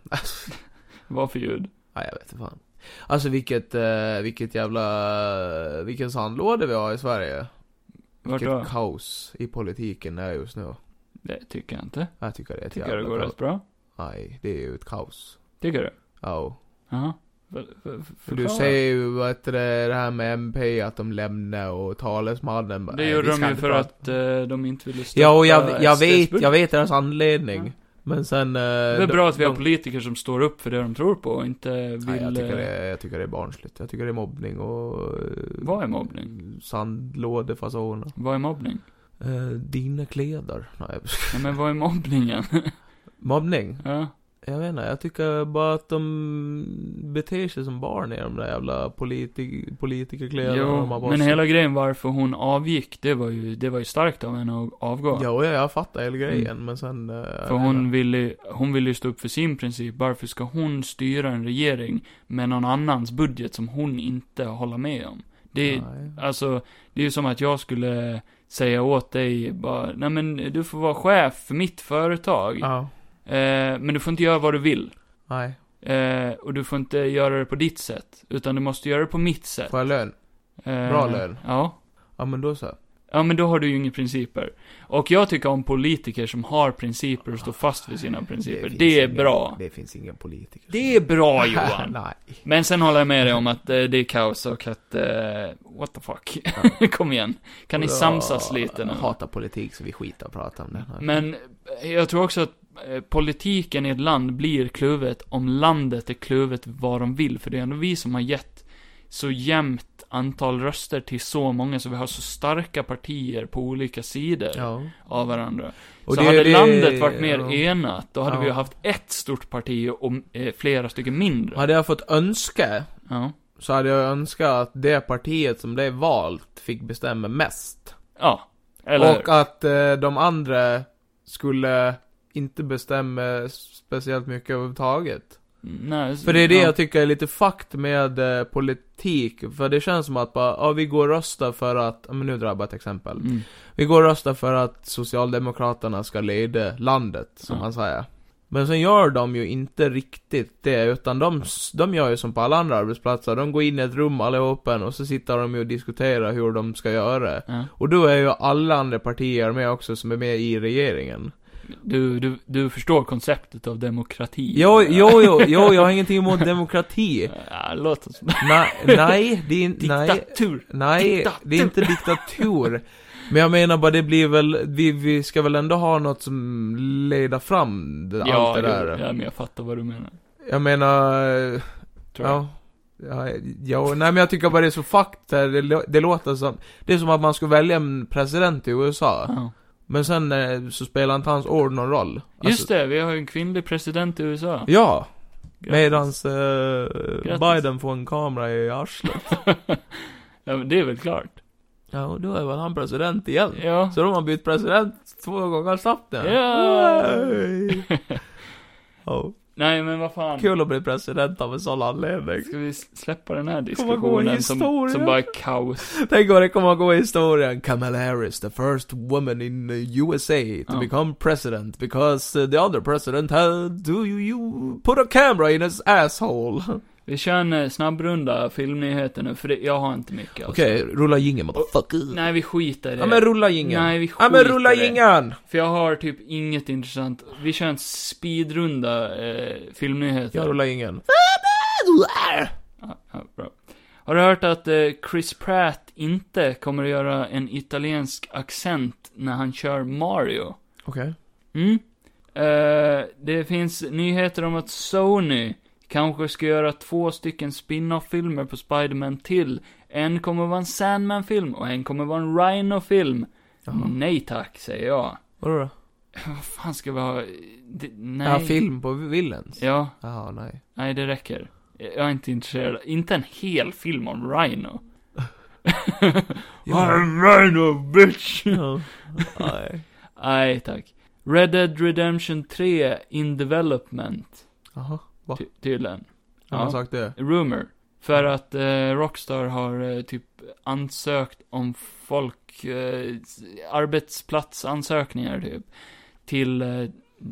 Speaker 1: Vad för ljud?
Speaker 2: Ja, jag vet inte fan. Alltså vilket, eh, vilket jävla, vilken sandlåda vi har i Sverige.
Speaker 1: Vart
Speaker 2: vilket
Speaker 1: då?
Speaker 2: kaos i politiken är just nu.
Speaker 1: Det tycker jag inte.
Speaker 2: Jag tycker det är ett
Speaker 1: Tycker jag det
Speaker 2: jävla
Speaker 1: går
Speaker 2: kaos.
Speaker 1: rätt bra.
Speaker 2: Nej, det är ju ett kaos.
Speaker 1: Tycker du?
Speaker 2: Ja.
Speaker 1: Jaha. För, för, för,
Speaker 2: För du
Speaker 1: förklara.
Speaker 2: säger ju vad heter det, det här med MP, att de lämnar och talesmannen bara,
Speaker 1: Det
Speaker 2: "Nej, vi
Speaker 1: gjorde
Speaker 2: ska
Speaker 1: de ju
Speaker 2: inte
Speaker 1: för
Speaker 2: prata."
Speaker 1: att eh, de inte ville stötta
Speaker 2: Ja, och jag, jag
Speaker 1: SDs
Speaker 2: vet, jag
Speaker 1: budget.
Speaker 2: vet deras anledning.
Speaker 1: Ja.
Speaker 2: Men sen... eh,
Speaker 1: Det är
Speaker 2: de-
Speaker 1: bra att vi har
Speaker 2: de-
Speaker 1: politiker som står upp för det de tror på och inte vill...
Speaker 2: Nej, jag tycker, det,
Speaker 1: eh,
Speaker 2: är- jag tycker det är barnsligt. Jag tycker det är mobbning och... eh,
Speaker 1: Vad är mobbning?
Speaker 2: Sandlådefasoner.
Speaker 1: Vad är mobbning?
Speaker 2: Eh, dina kläder. Nej,
Speaker 1: Ja, men vad är mobbningen?
Speaker 2: mobbning?
Speaker 1: ja.
Speaker 2: Jag vet inte, jag tycker bara att de beter sig som barn i de där jävla politi- politikerkläderna.
Speaker 1: Jo,
Speaker 2: de har bara
Speaker 1: men
Speaker 2: så-
Speaker 1: hela grejen varför hon avgick, det var ju, det var ju starkt av henne att avgå.
Speaker 2: Jo, ja, jag fattar hela grejen, men sen... eh, jag
Speaker 1: Mm. för
Speaker 2: vet
Speaker 1: hon
Speaker 2: inte.
Speaker 1: ville, hon ville ju stå upp för sin princip. Varför ska hon styra en regering med någon annans budget som hon inte håller med om? Det,
Speaker 2: Nej.
Speaker 1: alltså, det är ju som att jag skulle säga åt dig bara, nej men du får vara chef för mitt företag.
Speaker 2: Ja.
Speaker 1: Eh, men du får inte göra vad du vill.
Speaker 2: Nej.
Speaker 1: Eh, och du får inte göra det på ditt sätt. Utan du måste göra det på mitt sätt.
Speaker 2: Får jag lön?
Speaker 1: Eh,
Speaker 2: bra lön.
Speaker 1: Ja.
Speaker 2: Ja, men då så.
Speaker 1: Ja, men då har du ju inga principer. Och jag tycker om politiker som har principer och står fast vid sina principer. Det,
Speaker 2: finns
Speaker 1: är
Speaker 2: ingen-
Speaker 1: bra.
Speaker 2: Det finns ingen politiker.
Speaker 1: Det är bra, Johan.
Speaker 2: Nej.
Speaker 1: Men sen håller jag med dig om att eh, det är kaos och att, eh, what the fuck. Kom igen. Kan ni
Speaker 2: Och jag
Speaker 1: samsas lite nu?
Speaker 2: hatar politik så vi skiter och pratar om det. Nej.
Speaker 1: Men jag tror också att eh, politiken i ett land blir kluvet om landet är kluvet vad de vill. För det är ändå vi som har gett så jämnt antal röster till så många, så vi har så starka partier på olika sidor
Speaker 2: Ja.
Speaker 1: av varandra.
Speaker 2: Och
Speaker 1: så
Speaker 2: det-
Speaker 1: hade
Speaker 2: det-
Speaker 1: landet varit mer
Speaker 2: ja.
Speaker 1: enat, då hade
Speaker 2: Ja.
Speaker 1: vi ju haft ett stort parti och eh, flera stycken mindre.
Speaker 2: Hade jag fått önska,
Speaker 1: Ja.
Speaker 2: så hade jag önskat att det partiet som blev valt fick bestämma mest.
Speaker 1: Ja. Eller
Speaker 2: Och att eh, de andra skulle inte bestämma speciellt mycket överhuvudtaget.
Speaker 1: Nej,
Speaker 2: För det är det
Speaker 1: Mm, ja.
Speaker 2: jag tycker är lite fucked med eh, politik. För det känns som att bara, ja vi går och röstar för att, ja, men nu drar jag bara ett exempel.
Speaker 1: Mm.
Speaker 2: Vi går och röstar för att Socialdemokraterna ska leda landet, som
Speaker 1: Ja.
Speaker 2: man säger. Men sen gör de ju inte riktigt det, utan de, s- de gör ju som på alla andra arbetsplatser. De går in i ett rum allihopa och så sitter de ju och diskuterar hur de ska göra.
Speaker 1: Ja.
Speaker 2: Och då är ju alla andra partier med också som är med i regeringen.
Speaker 1: Du, du, du förstår konceptet av demokrati?
Speaker 2: Jo, jo, jo, jo jag har ingenting emot demokrati.
Speaker 1: Ja, låt oss...
Speaker 2: Nej, nej, det är, in- nej,
Speaker 1: Diktatur!
Speaker 2: Nej, det är inte diktatur. Men jag menar bara, det blir väl, vi, vi ska väl ändå ha något som leder fram det,
Speaker 1: Ja,
Speaker 2: allt det
Speaker 1: jo,
Speaker 2: där.
Speaker 1: ja, men jag fattar vad du menar.
Speaker 2: Jag menar, eh,
Speaker 1: Tror jag.
Speaker 2: ja. Ja, ja, nej men jag tycker bara det är så fucked här. det, lå- det låter som, det är som att man ska välja en president i USA.
Speaker 1: Ja.
Speaker 2: Men sen eh, så spelar inte hans ord någon roll.
Speaker 1: Just det, vi har ju en kvinnlig president i USA.
Speaker 2: Alltså- Ja,
Speaker 1: Grattis.
Speaker 2: medans eh,
Speaker 1: Grattis.
Speaker 2: Biden får en kamera i arslet.
Speaker 1: ja, men det är väl klart.
Speaker 2: Ja, och då är väl han president igen.
Speaker 1: Ja.
Speaker 2: Så de har bytt president två gånger snabbt nu.
Speaker 1: Ja.
Speaker 2: Yay. Ja.
Speaker 1: Nej, men vad fan.
Speaker 2: Kul att bli president av en sån anledning.
Speaker 1: Ska vi släppa den här
Speaker 2: Kommer gå i
Speaker 1: diskussionen som,
Speaker 2: historien.
Speaker 1: som bara är kaos?
Speaker 2: Tänk vad det kommer att gå i historien. Kamala Harris, the first woman in uh, USA to
Speaker 1: Ja.
Speaker 2: become president because uh, the other president had to you, you put a camera in his asshole.
Speaker 1: Vi kör en eh, snabbrunda filmnyheter nu, för det, jag har inte mycket. alltså.
Speaker 2: Okej, rulla jingeln motherfucker.
Speaker 1: Nej, vi skiter i det.
Speaker 2: Ja men rulla jingeln.
Speaker 1: Nej, vi
Speaker 2: Ja men
Speaker 1: skiter
Speaker 2: rulla
Speaker 1: i det.
Speaker 2: jingeln!
Speaker 1: För jag har typ inget intressant. Vi kör en speedrunda eh, filmnyheter.
Speaker 2: Jag rullar jingeln.
Speaker 1: Ja, ja, bra. Har du hört att eh, Chris Pratt inte kommer att göra en italiensk accent när han kör Mario?
Speaker 2: Okej.
Speaker 1: Mm. Eh, det finns nyheter om att Sony kanske ska göra två stycken spin-off-filmer på Spider-Man till. En kommer vara en Sandman-film och en kommer vara en Rhino-film.
Speaker 2: Jaha.
Speaker 1: Nej tack, säger jag.
Speaker 2: Vadå då?
Speaker 1: Vad fan ska vi ha? Det, nej.
Speaker 2: Ja, film på Villains?
Speaker 1: Ja,
Speaker 2: Jaha, nej.
Speaker 1: nej det räcker. Jag är inte intresserad. Inte en hel film om Rhino.
Speaker 2: Ja.
Speaker 1: Rhino bitch!
Speaker 2: Ja. Nej.
Speaker 1: Nej tack. Red Dead Redemption 3 in development,
Speaker 2: Jaha. Va?
Speaker 1: ty- tydligen.
Speaker 2: Har man
Speaker 1: Ja.
Speaker 2: sagt det?
Speaker 1: Rumor. För att eh, Rockstar har eh, typ ansökt om folk, eh, s- arbetsplatsansökningar typ. Till eh,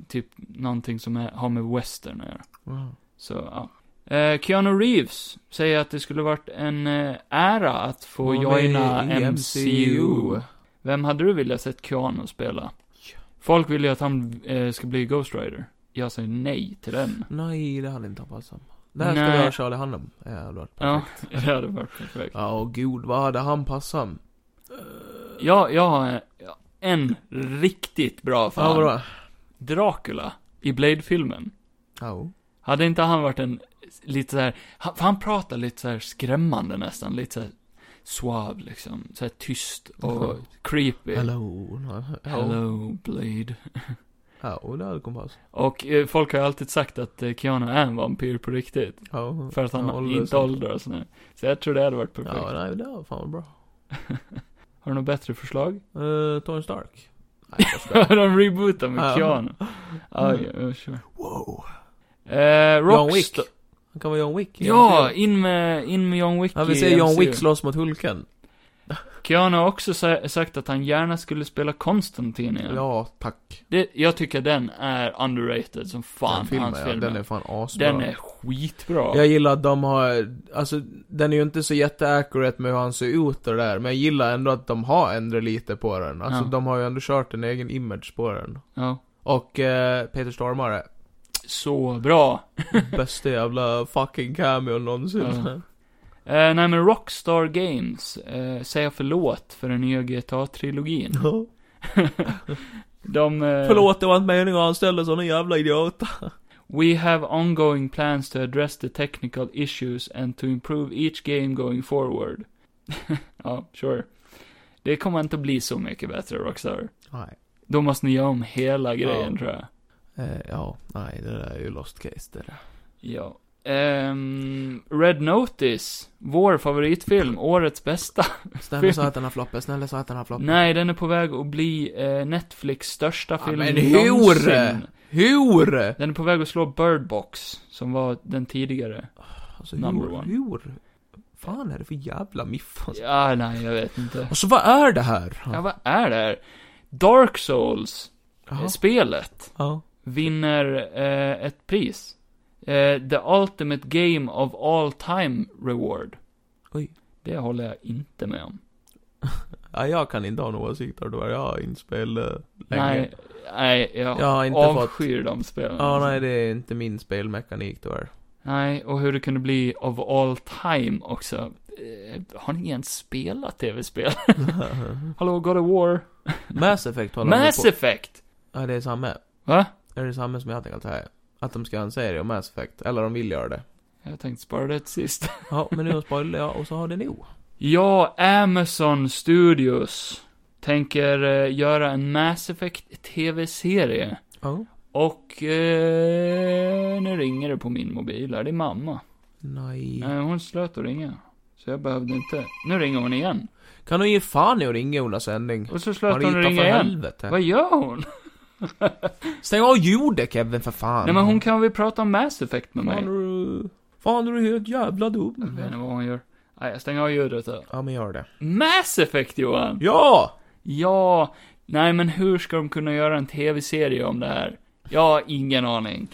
Speaker 1: typ någonting som är, har med western att göra.
Speaker 2: Wow.
Speaker 1: Så, ja. Eh, Keanu Reeves säger att det skulle varit en eh, ära att få
Speaker 2: Vara med
Speaker 1: joina
Speaker 2: i
Speaker 1: MCU.
Speaker 2: MCU.
Speaker 1: Vem hade du velat sett Keanu spela? Folk vill ju att han eh, ska bli Ghost Rider. Jag säger nej till den.
Speaker 2: Nej, det hade inte han passat. Där ska
Speaker 1: Nej.
Speaker 2: vi ha Charlie Hunnam. Ja, det hade varit
Speaker 1: Ja,
Speaker 2: perfekt.
Speaker 1: det hade varit perfekt.
Speaker 2: Ja, och gud, vad hade han passat?
Speaker 1: Ja, jag har eh, en riktigt bra
Speaker 2: Ja,
Speaker 1: fan.
Speaker 2: vadå?
Speaker 1: Dracula i Blade-filmen.
Speaker 2: Ja.
Speaker 1: Hade inte han varit en lite så här, han, för han pratar lite så här skrämmande nästan, lite så här suave liksom, så här tyst och
Speaker 2: Mhm.
Speaker 1: creepy.
Speaker 2: Hello. Hello.
Speaker 1: Hello, Blade.
Speaker 2: Ja, och det hade kunnat passa.
Speaker 1: Och eh, folk har ju alltid sagt att eh, Keanu är en vampyr på riktigt.
Speaker 2: Ja.
Speaker 1: För att han
Speaker 2: Ja, åldras
Speaker 1: inte
Speaker 2: inte.
Speaker 1: åldras nu. Så jag tror det hade varit perfekt.
Speaker 2: Ja, nej, det var fan bra.
Speaker 1: Har du något bättre förslag?
Speaker 2: Uh, Tony Stark. Nej, jag skojar.
Speaker 1: De rebootar med
Speaker 2: Ja.
Speaker 1: Keanu. Aj, mm. sure.
Speaker 2: Wow.
Speaker 1: Eh,
Speaker 2: John
Speaker 1: Rockstar-
Speaker 2: Wick. Han kan vara John Wick.
Speaker 1: Ja, in med, in med John Wick
Speaker 2: Han vill
Speaker 1: i
Speaker 2: se John
Speaker 1: MCU.
Speaker 2: Wick slåss mot Hulken.
Speaker 1: Keanu har också sa- sagt att han gärna skulle spela Konstantin igen.
Speaker 2: Ja, tack.
Speaker 1: Det, jag tycker den är underrated som fan,
Speaker 2: den filmen,
Speaker 1: hans
Speaker 2: ja,
Speaker 1: film.
Speaker 2: den är fan asbra.
Speaker 1: den är skitbra.
Speaker 2: Jag gillar att de har, alltså den är ju inte så jätteaccurate med hur han ser ut och det där, men jag gillar ändå att de har ändrat lite på den. Alltså
Speaker 1: Ja.
Speaker 2: de har ju ändå kört en egen image på den.
Speaker 1: Ja.
Speaker 2: Och eh, Peter Stormare,
Speaker 1: Så bra.
Speaker 2: bästa jävla fucking cameo någonsin.
Speaker 1: Ja. Eh, nej men Rockstar Games eh, säger förlåt för den nya GTA-trilogin. De... Eh,
Speaker 2: Förlåt, det var inte meningen att anställa såna jävla idioter.
Speaker 1: We have ongoing plans to address the technical issues and to improve each game going forward. ja, sure. Det kommer inte bli så mycket bättre, Rockstar.
Speaker 2: Nej.
Speaker 1: Då måste ni göra om hela grejen, tror jag.
Speaker 2: Eh, ja, nej, det där är ju lost case det där.
Speaker 1: Ja. Ehm, Red Notice, vår favoritfilm, årets bästa.
Speaker 2: Snälla sa att den har floppat, snälla sa att den har floppat.
Speaker 1: Nej, den är på väg att bli eh, Netflix största
Speaker 2: Ja,
Speaker 1: film
Speaker 2: men hur?
Speaker 1: någonsin.
Speaker 2: Hur?
Speaker 1: Den är på väg att slå Bird Box, som var den tidigare.
Speaker 2: Alltså,
Speaker 1: Number
Speaker 2: hur,
Speaker 1: one.
Speaker 2: hur? fan är det för jävla miff alltså?
Speaker 1: Ja, nej, jag vet inte.
Speaker 2: Alltså vad är det här?
Speaker 1: Ja, vad är det här? Dark Souls, eh,
Speaker 2: Jaha.
Speaker 1: spelet,
Speaker 2: Ja.
Speaker 1: vinner eh, ett pris. Eh, the Ultimate Game of All Time Reward.
Speaker 2: Oj.
Speaker 1: Det håller jag inte med om.
Speaker 2: ja, jag kan inte ha några åsikter då, jag har inspel eh, länge.
Speaker 1: Nej, nej, jag,
Speaker 2: Jag har inte
Speaker 1: avskyr de spelen.
Speaker 2: Ja, nej, det är inte min spelmekanik tyvärr.
Speaker 1: Nej, och hur det kunde bli of all time också. Eh, har ni ens spelat tv-spel? Hallå, God of War?
Speaker 2: Mass Effect håller de
Speaker 1: Mass
Speaker 2: på.
Speaker 1: Effect!
Speaker 2: Ja, det är samma.
Speaker 1: Va?
Speaker 2: Det är det samma som jag tänker att det här. Att de ska ha en serie om Mass Effect, eller de vill göra det.
Speaker 1: Jag tänkte spara det till sist.
Speaker 2: Ja, men nu spoilar jag och så har det nog.
Speaker 1: Ja, Amazon Studios tänker eh, göra en Mass Effect tv-serie.
Speaker 2: Ja.
Speaker 1: Och eh, nu ringer det på min mobil här, det är mamma.
Speaker 2: Nej.
Speaker 1: Nej, hon slöt att ringa. Så jag behövde inte. Nu ringer hon igen.
Speaker 2: Kan du ge fan i att ringa under sändning?
Speaker 1: Och så slöt hon
Speaker 2: Marita,
Speaker 1: att
Speaker 2: för
Speaker 1: ringa igen.
Speaker 2: helvete.
Speaker 1: Vad gör hon?
Speaker 2: Stäng av ljudet Kevin, för fan.
Speaker 1: Nej men hon kan väl prata om Mass Effect med mig?
Speaker 2: Fan är du... Fan är du helt jävla
Speaker 1: Jag vet
Speaker 2: dum.
Speaker 1: inte vad hon gör. Nej, jag stänger av ljudet då.
Speaker 2: Ja, men gör det.
Speaker 1: Mass Effect Johan!
Speaker 2: Ja!
Speaker 1: Ja! Nej men hur ska de kunna göra en tv-serie om det här? Jag har ingen aning.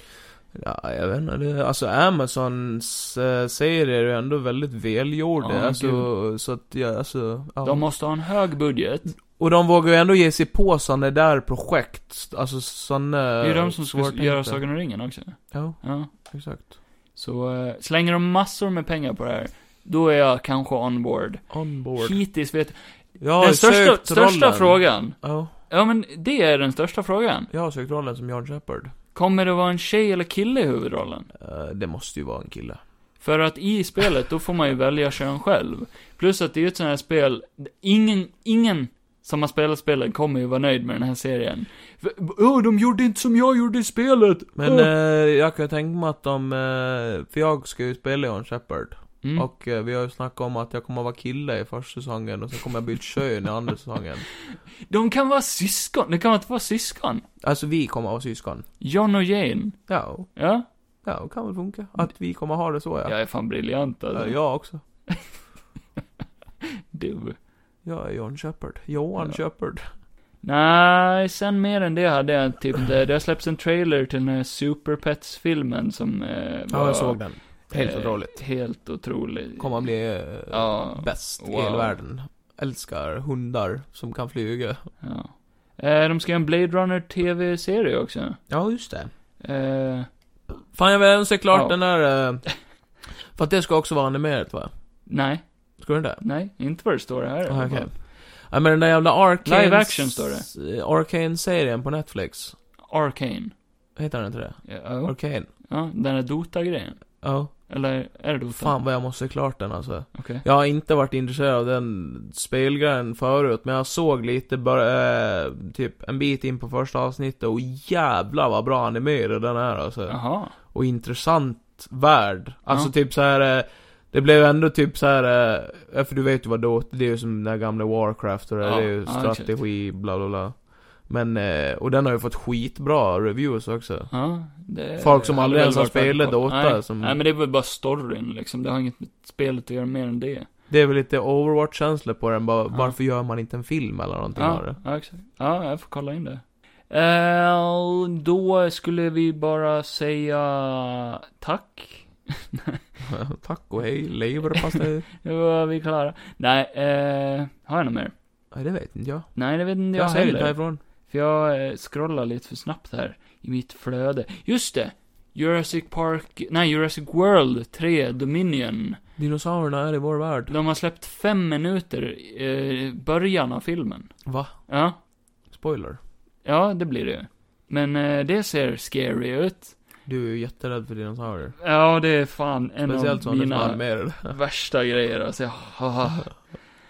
Speaker 2: Ja, jag vet inte. Det, alltså Amazons eh, serier är ändå väldigt välgjorda.
Speaker 1: Ja,
Speaker 2: alltså, så att, ja, alltså, ja.
Speaker 1: De måste ha en hög budget.
Speaker 2: Och de vågar ju ändå ge sig på sådana där projekt. Alltså sådana...
Speaker 1: Det är ju de som ska göra Sagan om ringen också.
Speaker 2: Ja,
Speaker 1: Ja.
Speaker 2: exakt.
Speaker 1: Så, eh, slänger de massor med pengar på det här, då är jag kanske on board.
Speaker 2: On board.
Speaker 1: Hittills vet
Speaker 2: Jag har
Speaker 1: Den största,
Speaker 2: sökt
Speaker 1: största
Speaker 2: rollen.
Speaker 1: frågan.
Speaker 2: Ja,
Speaker 1: Ja men det är den största frågan.
Speaker 2: jag har sökt rollen som John Shepard.
Speaker 1: Kommer det vara en tjej eller kille i huvudrollen?
Speaker 2: Eh, det måste ju vara en kille.
Speaker 1: För att i spelet, då får man ju välja kön själv. Plus att det är ju ett sånt här spel, ingen, ingen som har spelat spelet kommer ju vara nöjd med den här serien. För, Åh, de gjorde inte som jag gjorde i spelet! Oh.
Speaker 2: Men
Speaker 1: Åh.
Speaker 2: eh, jag kan ju tänka mig att de... eh, för jag ska ju spela John Shepard.
Speaker 1: mm.
Speaker 2: Och eh, vi har ju snackat om att jag kommer vara kille i första säsongen och sen kommer jag bli ett kön i andra säsongen.
Speaker 1: De kan vara syskon, det kan inte vara syskon.
Speaker 2: Alltså vi kommer vara syskon.
Speaker 1: John och Jane,
Speaker 2: Ja,
Speaker 1: ja?
Speaker 2: ja, det kan väl funka. Att vi kommer ha det så ja.
Speaker 1: Jag är fan briljant
Speaker 2: Ja,
Speaker 1: alltså.
Speaker 2: jag också.
Speaker 1: Du.
Speaker 2: Jag är John Shepard. Johan
Speaker 1: Ja.
Speaker 2: Shepard.
Speaker 1: Nej, sen mer än det hade jag typ, det, det har släppts en trailer till den här Super Pets-filmen som eh, var...
Speaker 2: den.
Speaker 1: eh, Helt otrolig.
Speaker 2: Kommer att bli eh,
Speaker 1: Ja.
Speaker 2: bäst i
Speaker 1: Wow.
Speaker 2: hela världen. Älskar hundar som kan flyga.
Speaker 1: Ja. Eh, de ska göra en Blade Runner TV-serie också.
Speaker 2: Ja, just det.
Speaker 1: Eh,
Speaker 2: Fan, jag vill även se klart
Speaker 1: Ja.
Speaker 2: den där... eh, För att det ska också vara animerat va?
Speaker 1: nej,
Speaker 2: Ska den det?
Speaker 1: nej, inte vad det står här. i alla
Speaker 2: Ah, Okej.
Speaker 1: fall.
Speaker 2: Ja, men den där jävla Arcane...
Speaker 1: Live action står det.
Speaker 2: Arcane-serien på Netflix.
Speaker 1: Arcane.
Speaker 2: Heter den inte det?
Speaker 1: Ja, oh.
Speaker 2: Arcane.
Speaker 1: ja, den där Dota-grejen.
Speaker 2: Ja.
Speaker 1: Eller, är det Dota?
Speaker 2: Fan vad jag måste se klart den alltså.
Speaker 1: Okej.
Speaker 2: Jag har inte varit intresserad av den spelgrejen förut, men jag såg lite bara, eh, typ en bit in på första avsnittet och jävla vad bra animerad den är alltså.
Speaker 1: Jaha.
Speaker 2: Och intressant värld. Alltså
Speaker 1: Ja.
Speaker 2: typ så här. eh, det blev ändå typ så här. eh, ja, för du vet ju vad då, det är ju som den här gamla Warcraft och det,
Speaker 1: Ja,
Speaker 2: det är ju
Speaker 1: ja,
Speaker 2: strategi, bla bla bla. Men, eh, och den har ju fått skitbra reviews också.
Speaker 1: Ja, det,
Speaker 2: Folk som aldrig
Speaker 1: hade
Speaker 2: ens har
Speaker 1: väl varit
Speaker 2: spelat
Speaker 1: värde på.
Speaker 2: Dota,
Speaker 1: Nej.
Speaker 2: som-
Speaker 1: nej, men det är väl bara storyn liksom. Det har inget med spelet att göra mer än det.
Speaker 2: Det är väl lite Overwatch-känsla på den, bara,
Speaker 1: Ja.
Speaker 2: varför gör man inte en film eller någonting av
Speaker 1: Ja,
Speaker 2: det?
Speaker 1: ja, exakt. Ja, jag får kolla in det. Eh, då skulle vi bara säga tack.
Speaker 2: Tack och hej, leverpastej.
Speaker 1: Nu var vi klara. Nej, eh, har jag något mer?
Speaker 2: Nej, det vet inte jag.
Speaker 1: Nej, det vet inte jag,
Speaker 2: jag säger inte
Speaker 1: heller.
Speaker 2: härifrån.
Speaker 1: För jag eh, scrollar lite för snabbt här i mitt flöde. Just det! Jurassic Park, nej Jurassic World 3 Dominion.
Speaker 2: Dinosaurierna är i vår värld.
Speaker 1: De har släppt fem minuter i eh, början av filmen.
Speaker 2: Va?
Speaker 1: Ja,
Speaker 2: Spoiler.
Speaker 1: ja det blir det ju. Men eh, det ser scary ut.
Speaker 2: Du är ju jätterädd för dinosaurier.
Speaker 1: Ja, det är fan en
Speaker 2: Speciellt
Speaker 1: av
Speaker 2: sådana som
Speaker 1: mina
Speaker 2: animerade.
Speaker 1: värsta grejer alltså. Jag,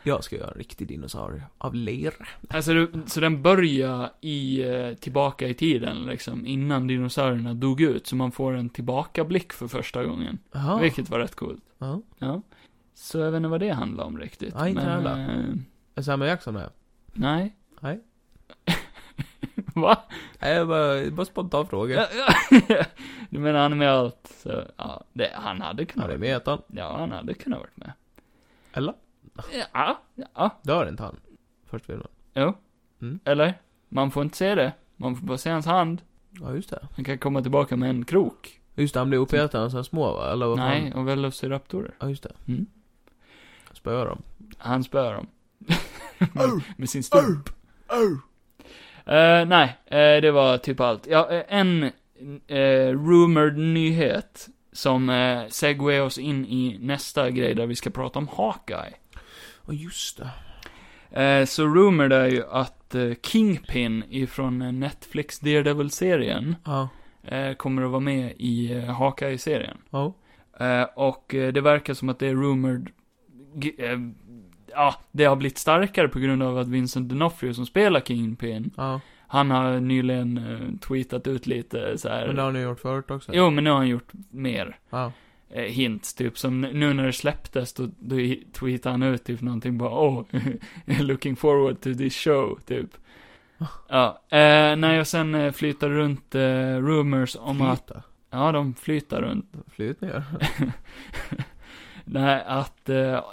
Speaker 2: Jag ska göra en riktig dinosaurie. Av ler.
Speaker 1: Alltså, det- så den börjar i, eh, tillbaka i tiden liksom, innan dinosaurierna dog ut, så man får en tillbakablick för första gången.
Speaker 2: Jaha.
Speaker 1: Vilket var rätt coolt.
Speaker 2: Ja.
Speaker 1: Ja. Så jag vet inte vad det handlar om riktigt.
Speaker 2: Nej, inte
Speaker 1: men,
Speaker 2: heller.
Speaker 1: eh,
Speaker 2: Är Samuel Jackson med?
Speaker 1: Nej.
Speaker 2: Nej.
Speaker 1: Va?
Speaker 2: Nej, jag bara, bara spontan fråga.
Speaker 1: du menar han är med allt, så, ja, det, han hade kunnat
Speaker 2: Han är
Speaker 1: varit
Speaker 2: med
Speaker 1: med.
Speaker 2: heter han.
Speaker 1: Ja, han hade kunnat varit med.
Speaker 2: Eller?
Speaker 1: Ja, ja,
Speaker 2: Dör inte han? Först filmen.
Speaker 1: jo.
Speaker 2: Mm.
Speaker 1: Eller? Man får inte se det. Man får bara se hans hand.
Speaker 2: Ja, just det.
Speaker 1: Han kan komma tillbaka med en krok.
Speaker 2: Just det, han blir uppäten av sina små va? Eller vad fan?
Speaker 1: Nej, och Velociraptorer.
Speaker 2: Ja, just det.
Speaker 1: Mm.
Speaker 2: Spöar dem.
Speaker 1: Han spöar dem. med, med sin stump. Eh, nej, eh, det var typ allt. Ja, eh, en eh, rumored nyhet som uh, segway oss in i nästa grej där vi ska prata om Hawkeye.
Speaker 2: Ja, just det.
Speaker 1: Eh, så rumored är ju att eh, Kingpin ifrån eh, Netflix Daredevil-serien
Speaker 2: Ja.
Speaker 1: eh, kommer att vara med i uh, Hawkeye-serien.
Speaker 2: Ja.
Speaker 1: Eh, och eh, det verkar som att det är rumored... g- eh, Ja, det har blivit starkare på grund av att Vincent D'Onofrio som spelar Kingpin,
Speaker 2: Ja.
Speaker 1: han har nyligen eh, tweetat ut lite så här.
Speaker 2: Men det har ni gjort förut också.
Speaker 1: Jo, men nu har han gjort mer
Speaker 2: Ja.
Speaker 1: eh, hints, typ som nu när det släpptes, då, då i- tweetade han ut typ någonting bara oh, looking forward to this show, typ. Ja, eh, när jag sen eh, flyttar runt eh, rumors om att,
Speaker 2: Flyta.
Speaker 1: ja de flyttar runt,
Speaker 2: Flyt ner.
Speaker 1: nej, att eh,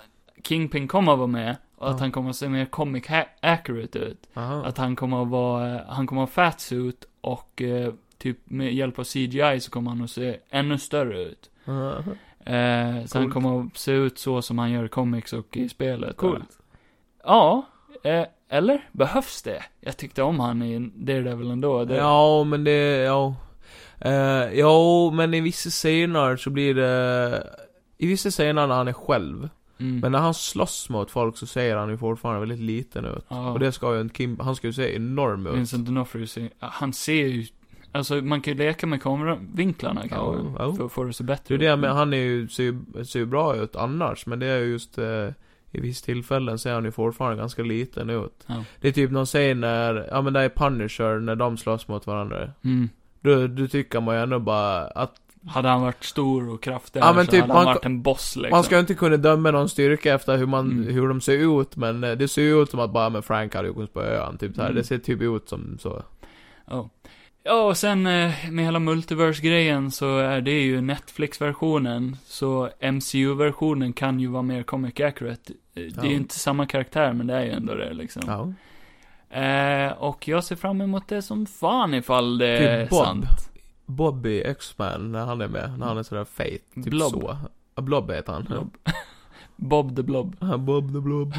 Speaker 1: Kingpin kommer att vara med, och att
Speaker 2: Ja.
Speaker 1: han kommer att se mer comic ha- accurate ut.
Speaker 2: Aha.
Speaker 1: Att han kommer att vara, eh, han kommer att ha fatsuit och eh, typ med hjälp av CGI så kommer han att se ännu större ut.
Speaker 2: Aha.
Speaker 1: Eh, så han
Speaker 2: Coolt.
Speaker 1: kommer att se ut så som han gör i comics och i spelet. Ja, eh, eller? Behövs det? Jag tyckte om han i Daredevil ändå. Det,
Speaker 2: Ja, men det, ja. Uh, jo, men i vissa scener så blir det... I vissa scener när han är själv.
Speaker 1: mm.
Speaker 2: Men när han slåss mot folk så ser han ju fortfarande väldigt liten ut.
Speaker 1: ja,
Speaker 2: Och det ska ju inte Kim... Han ska ju se enorm ut.
Speaker 1: Vincent D'Onofrio, ser- han ser ju... Alltså, man kan ju leka med kameravinklarna kanske.
Speaker 2: Ja, ja.
Speaker 1: För att få det att se bättre
Speaker 2: Det är ju
Speaker 1: ut.
Speaker 2: det med, han är ju, ser, ju, ser ju bra ut annars, men det är ju just eh, i vissa tillfällen ser han ju fortfarande ganska liten ut.
Speaker 1: Ja.
Speaker 2: Det är typ någon säger när, ja men det är Punisher, när de slåss mot varandra.
Speaker 1: Mm.
Speaker 2: Då, då tycker man ju ändå bara att
Speaker 1: Hade han varit stor och kraftig
Speaker 2: Ja,
Speaker 1: här
Speaker 2: men
Speaker 1: så
Speaker 2: typ,
Speaker 1: hade han
Speaker 2: man-
Speaker 1: varit en boss liksom.
Speaker 2: man ska ju inte kunna döma någon styrka efter hur man,
Speaker 1: Mm.
Speaker 2: hur de ser ut, men eh, det ser ju ut som att bara, men Frank hade ju kunnat spöa han, typ så här.
Speaker 1: Mm.
Speaker 2: Det ser typ ut som så.
Speaker 1: Ja. Ja, och sen eh, med hela multiverse-grejen så är det ju Netflix-versionen, så MCU-versionen kan ju vara mer comic accurate. Eh, Det är ju
Speaker 2: Ja.
Speaker 1: inte samma karaktär, men det är ju ändå det liksom.
Speaker 2: Ja.
Speaker 1: Eh, och jag ser fram emot det som fan ifall det
Speaker 2: Typ
Speaker 1: är
Speaker 2: Bob.
Speaker 1: sant.
Speaker 2: Bobby X-Man, när han är med, när han är sådär feit, typ
Speaker 1: Blob.
Speaker 2: så. Ja, Blob heter han.
Speaker 1: Blob. Bob the Blob.
Speaker 2: Bob the Blob.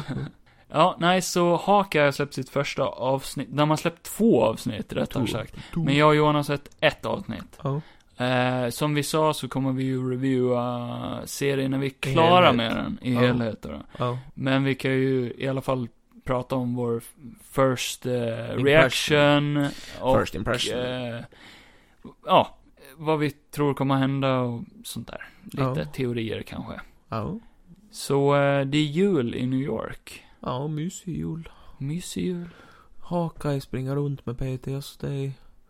Speaker 1: Ja, nej, så Haka har släppt sitt första avsnitt. De har släppt två avsnitt, rättare sagt. Men jag och Johan har sett ett avsnitt.
Speaker 2: Ja.
Speaker 1: Eh, som vi sa så kommer vi ju reviewa serien när vi är klara
Speaker 2: helhet.
Speaker 1: med den i
Speaker 2: Ja.
Speaker 1: helhet. Då.
Speaker 2: Ja.
Speaker 1: Men vi kan ju i alla fall prata om vår f- first eh,
Speaker 2: Impression.
Speaker 1: reaction. Och,
Speaker 2: First impression.
Speaker 1: eh, ja, vad vi tror kommer hända och sånt där. Lite
Speaker 2: Ja.
Speaker 1: teorier kanske.
Speaker 2: Ja.
Speaker 1: Så eh, det är jul i New York.
Speaker 2: Ja, mysig jul.
Speaker 1: Mysig jul.
Speaker 2: Hawkeye springer runt med PTSD.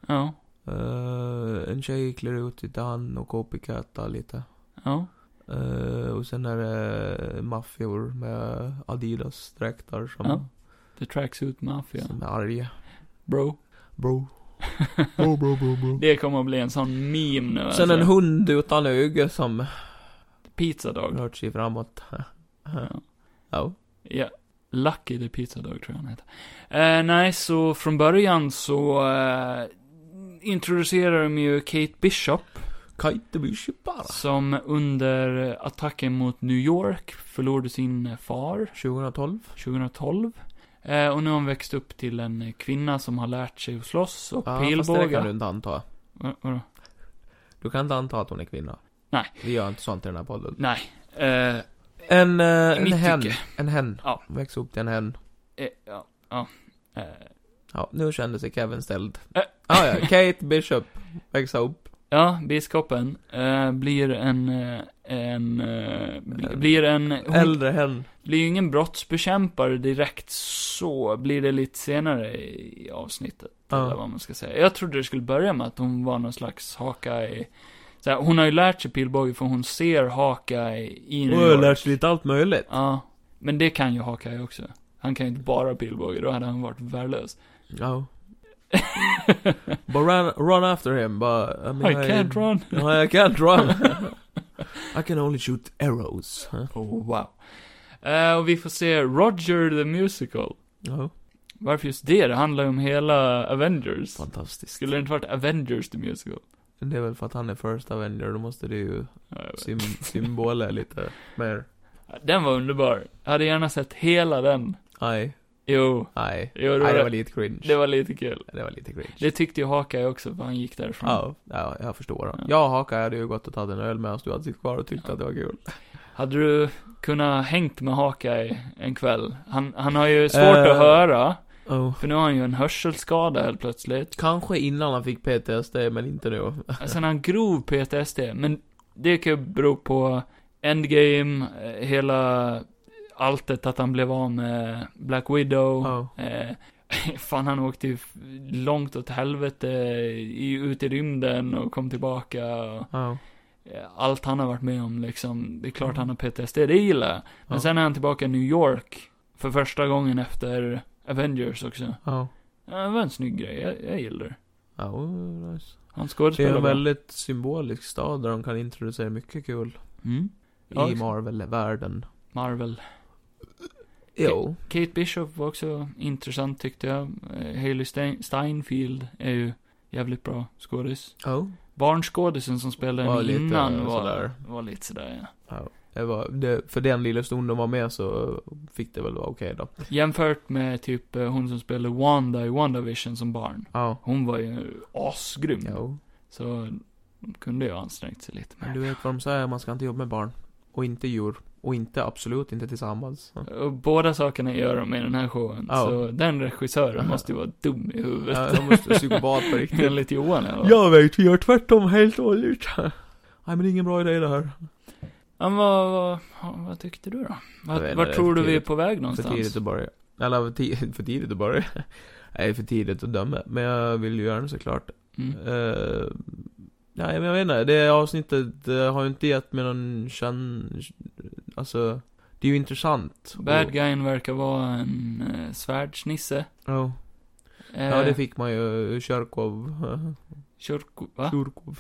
Speaker 1: Ja,
Speaker 2: Eh, en tjej klär ut sig till han och copycatar lite.
Speaker 1: ja.
Speaker 2: Eh, och sen är det maffior med Adidas-dräkter som,
Speaker 1: Ja. The Tracksuit Mafia.
Speaker 2: som är arga.
Speaker 1: Bro.
Speaker 2: Bro. Bro, bro, bro, bro.
Speaker 1: Det kommer att bli en eh, sån meme nu. alltså.
Speaker 2: Sen en hund utan öga som
Speaker 1: Pizza Dog.
Speaker 2: rört sig framåt.
Speaker 1: Ja.
Speaker 2: Ja.
Speaker 1: Ja. Lucky the Pizza Dog tror jag han heter. Eh, nej, så från början så eh, introducerar de ju Kate Bishop
Speaker 2: Kite Bishop bara.
Speaker 1: som under attacken mot New York förlorade sin far
Speaker 2: 2012.
Speaker 1: 2012. Eh, och nu har hon växt upp till en kvinna som har lärt sig att slåss och
Speaker 2: Ja, fast det kan du
Speaker 1: pilbåga.
Speaker 2: inte anta.
Speaker 1: Va- vadå?
Speaker 2: Du kan inte anta att hon är kvinna.
Speaker 1: Nej.
Speaker 2: Vi gör inte sånt i den här podden.
Speaker 1: Nej. Eh,
Speaker 2: En, eh, en
Speaker 1: mitt
Speaker 2: hen.
Speaker 1: tycke.
Speaker 2: En hen.
Speaker 1: Ja.
Speaker 2: Väx upp till en hen.
Speaker 1: Eh, ja. ja. Eh,
Speaker 2: Ja, nu kände sig Kevin ställd.
Speaker 1: Ä-
Speaker 2: Ah, ja, Kate Bishop. Växa upp.
Speaker 1: Ja, biskopen eh, blir en, eh, en, eh, bl- blir en, hon
Speaker 2: Äldre hen.
Speaker 1: blir ju ingen brottsbekämpare direkt så, blir det lite senare i avsnittet,
Speaker 2: Ja.
Speaker 1: eller vad man ska säga. Jag trodde det skulle börja med att hon var någon slags Hawkeye, så här, hon har ju lärt sig pilbåge för hon ser Hawkeye i
Speaker 2: Och
Speaker 1: New
Speaker 2: har
Speaker 1: York.
Speaker 2: lärt sig lite allt möjligt.
Speaker 1: Ja, men det kan ju Hawkeye också. Han kan ju inte bara pilbåge, då hade han varit värdelös.
Speaker 2: Ja. Bara run, run after him, bara... I,
Speaker 1: I
Speaker 2: mean,
Speaker 1: can't run.
Speaker 2: I can't run. I can only shoot arrows. Huh?
Speaker 1: Oh, wow. Eh, och vi får se Roger the Musical.
Speaker 2: Ja,
Speaker 1: Varför just det? Det handlar ju om hela Avengers.
Speaker 2: fantastiskt.
Speaker 1: Skulle det inte varit Avengers the Musical?
Speaker 2: Det är väl för att han är first avenger, då måste det ju
Speaker 1: Ja, jag vet.
Speaker 2: sim, symbola lite mer.
Speaker 1: Den var underbar. Jag hade gärna sett hela den.
Speaker 2: Nej,
Speaker 1: Jo,
Speaker 2: nej.
Speaker 1: jo det,
Speaker 2: Nej, det var
Speaker 1: var,
Speaker 2: lite cringe.
Speaker 1: det var lite kul.
Speaker 2: Det var lite cringe.
Speaker 1: Det tyckte ju Hawkeye också, för han gick därifrån.
Speaker 2: Ja, ja, jag förstår.
Speaker 1: Ja.
Speaker 2: Jag och Haka hade ju gått och tagit en öl medan du hade sitt kvar och tyckte att det var kul.
Speaker 1: Hade du kunnat hängt med Hawkeye en kväll? Han, han har ju svårt
Speaker 2: Eh.
Speaker 1: att höra, för nu har han ju en hörselskada helt plötsligt.
Speaker 2: Kanske innan han fick PTSD, men inte nu.
Speaker 1: Sen har han grov PTSD, men det kan ju bero på Endgame, eh, hela alltet att han blev av med Black Widow.
Speaker 2: Ja.
Speaker 1: Eh, fan, han åkte ju f- långt åt helvete i, ut i rymden och kom tillbaka. Och,
Speaker 2: Ja.
Speaker 1: eh, allt han har varit med om liksom, det är klart han har PTSD, det gillar jag. Men
Speaker 2: Mm. Ja.
Speaker 1: sen är han tillbaka i New York för första gången efter Avengers också.
Speaker 2: Ja.
Speaker 1: Ja, det var en snygg grej, jag, jag gillar det.
Speaker 2: Ja, oh, nice.
Speaker 1: Han
Speaker 2: Det är
Speaker 1: skådespelar
Speaker 2: en
Speaker 1: bra.
Speaker 2: väldigt symbolisk stad där de kan introducera mycket kul
Speaker 1: Mm. Ja,
Speaker 2: i
Speaker 1: exakt.
Speaker 2: Marvel-världen.
Speaker 1: Marvel.
Speaker 2: Jo.
Speaker 1: Kate Bishop var också intressant tyckte jag. Eh, Hailey Stein- Steinfield är ju jävligt bra skådis.
Speaker 2: Ja.
Speaker 1: Barnskådisen som spelade
Speaker 2: Var
Speaker 1: henne
Speaker 2: lite
Speaker 1: innan var,
Speaker 2: sådär.
Speaker 1: var lite sådär ja.
Speaker 2: Det var, det, för den lilla stunden de var med så fick det väl vara okej då.
Speaker 1: Jämfört med typ eh, hon som spelade Wanda i WandaVision som barn.
Speaker 2: Ja. Mm.
Speaker 1: Hon var ju asgrym.
Speaker 2: Jo.
Speaker 1: Så de kunde ju ha ansträngt sig lite
Speaker 2: Men
Speaker 1: mer.
Speaker 2: du vet vad de säger, man ska inte jobba med barn. Och inte djur. Och inte, absolut inte tillsammans. Ja.
Speaker 1: Och båda sakerna gör de i den här showen.
Speaker 2: Ja.
Speaker 1: Så den regissören måste ju vara dum i huvudet.
Speaker 2: Ja, de måste vara psykopat på riktigt.
Speaker 1: Enligt Johan eller?
Speaker 2: Jag vet, vi gör tvärtom helt och hållet. Nej men det är ingen bra idé det här.
Speaker 1: Men vad, vad, vad tyckte du då?
Speaker 2: Jag vet
Speaker 1: Vart,
Speaker 2: inte,
Speaker 1: vart
Speaker 2: det är
Speaker 1: tror
Speaker 2: för
Speaker 1: du vi är
Speaker 2: tidigt.
Speaker 1: på väg
Speaker 2: För
Speaker 1: någonstans?
Speaker 2: tidigt att börja. Eller för, ti- för tidigt att börja. Nej, för tidigt att döma. Men jag vill ju göra det såklart.
Speaker 1: Mm.
Speaker 2: Eh, nej men jag vet inte, det avsnittet eh, har ju inte gett mig någon känn... Alltså, det är ju intressant.
Speaker 1: Bad guyen verkar vara en eh, svärdsnisse.
Speaker 2: Och, ja.
Speaker 1: Eh,
Speaker 2: ja, det fick man ju. Kyrkov.
Speaker 1: Kyrko, va?
Speaker 2: Kyrkov.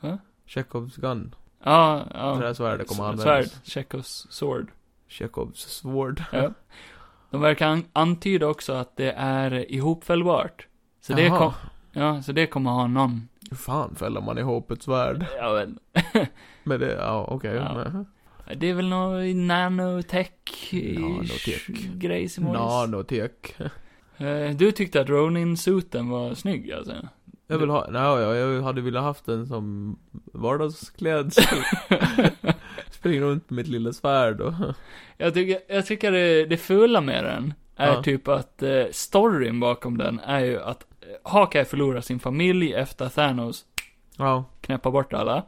Speaker 1: Va?
Speaker 2: Chekhovs gun.
Speaker 1: Ja,
Speaker 2: Det
Speaker 1: ja.
Speaker 2: där svärdet kommer
Speaker 1: S-
Speaker 2: användas.
Speaker 1: Svärd, Chekhovs sword.
Speaker 2: Chekhovs svård.
Speaker 1: Ja. De verkar an- antyda också att det är ihopfällbart. Så det,
Speaker 2: Jaha.
Speaker 1: kom, ja, så det kommer ha någon.
Speaker 2: Hur fan fäller man ihop ett svärd?
Speaker 1: Ja, men,
Speaker 2: Med det, ja okej.
Speaker 1: Ja.
Speaker 2: men-
Speaker 1: det är väl någon nanotech
Speaker 2: Nanotech.
Speaker 1: grej som hålls.
Speaker 2: Nanotek.
Speaker 1: Eh, Du tyckte att Ronin-suten var snygg alltså?
Speaker 2: Jag vill ha, nej ja, jag hade velat haft en som vardagsklädsel. Spring runt med mitt lilla svärd och...
Speaker 1: Jag tycker, jag tycker det, det fula med den är
Speaker 2: Ja.
Speaker 1: typ att eh, storyn bakom den är ju att eh, Hawkeye förlorar sin familj efter att Thanos
Speaker 2: Ja.
Speaker 1: knäppar bort alla.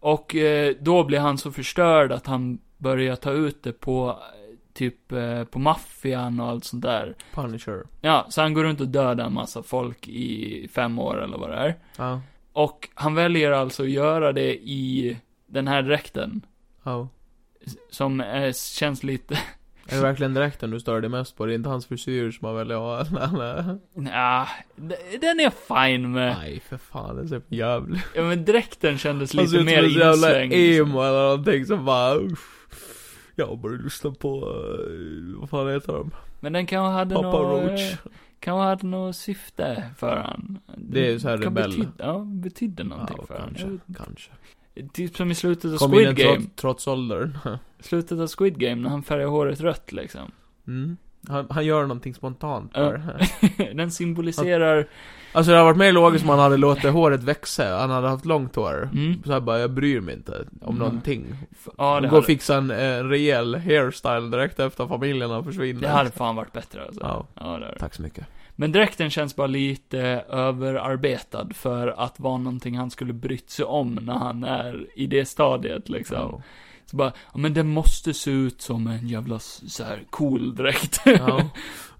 Speaker 1: Och eh, då blir han så förstörd att han börjar ta ut det på eh, typ eh, på maffian och allt sånt där.
Speaker 2: Punisher.
Speaker 1: Ja, så han går runt och dödar en massa folk i fem år eller vad det är.
Speaker 2: Ja.
Speaker 1: Och han väljer alltså att göra det i den här dräkten.
Speaker 2: Ja.
Speaker 1: Som eh, känns lite
Speaker 2: Är det verkligen dräkten du stör dig mest på? Det är inte hans frisyr som man väljer att ha? eh.
Speaker 1: Nja, d- den är fine med.
Speaker 2: Nej, för fan. Det ser för jävligt
Speaker 1: Ja, men dräkten kändes
Speaker 2: Han ser
Speaker 1: lite
Speaker 2: ut som
Speaker 1: mer
Speaker 2: en så jävla
Speaker 1: inslängd. liksom.
Speaker 2: emo eller någonting som bara... Uff. Jag började lyssna på... eh, Vad fan heter de?
Speaker 1: Men den kanske hade
Speaker 2: Papa
Speaker 1: något,
Speaker 2: Roach.
Speaker 1: eh, kanske hade något syfte för han.
Speaker 2: Det är ju så här
Speaker 1: Kan
Speaker 2: rebell.
Speaker 1: betyd- ja, betydde någonting
Speaker 2: Ja,
Speaker 1: för han.
Speaker 2: kanske. Kanske.
Speaker 1: Jag vet- Typ som i slutet av
Speaker 2: Kom in
Speaker 1: Squid
Speaker 2: en
Speaker 1: Game.
Speaker 2: trots, trots åldern.
Speaker 1: Slutet av Squid Game när han färgar håret rött liksom.
Speaker 2: Mm. Han, han gör någonting spontant
Speaker 1: Ja.
Speaker 2: bara.
Speaker 1: Den symboliserar...
Speaker 2: Alltså det hade varit mer logiskt om han hade låtit håret växa, han hade haft långt hår.
Speaker 1: Mm.
Speaker 2: Så här bara, jag bryr mig inte om
Speaker 1: Nej.
Speaker 2: någonting.
Speaker 1: f- Ja, det
Speaker 2: Gå
Speaker 1: hade,
Speaker 2: och fixa en, en rejäl hairstyle direkt efter familjen har försvinner.
Speaker 1: det hade fan varit bättre alltså.
Speaker 2: Ja,
Speaker 1: Ja, det hade. det.
Speaker 2: tack så mycket.
Speaker 1: Men dräkten känns bara lite överarbetad för att vara någonting han skulle brytt sig om när han är i det stadiet liksom.
Speaker 2: Ja.
Speaker 1: Så bara, ja, men den måste se ut som en jävla s- så här cool dräkt.
Speaker 2: Ja.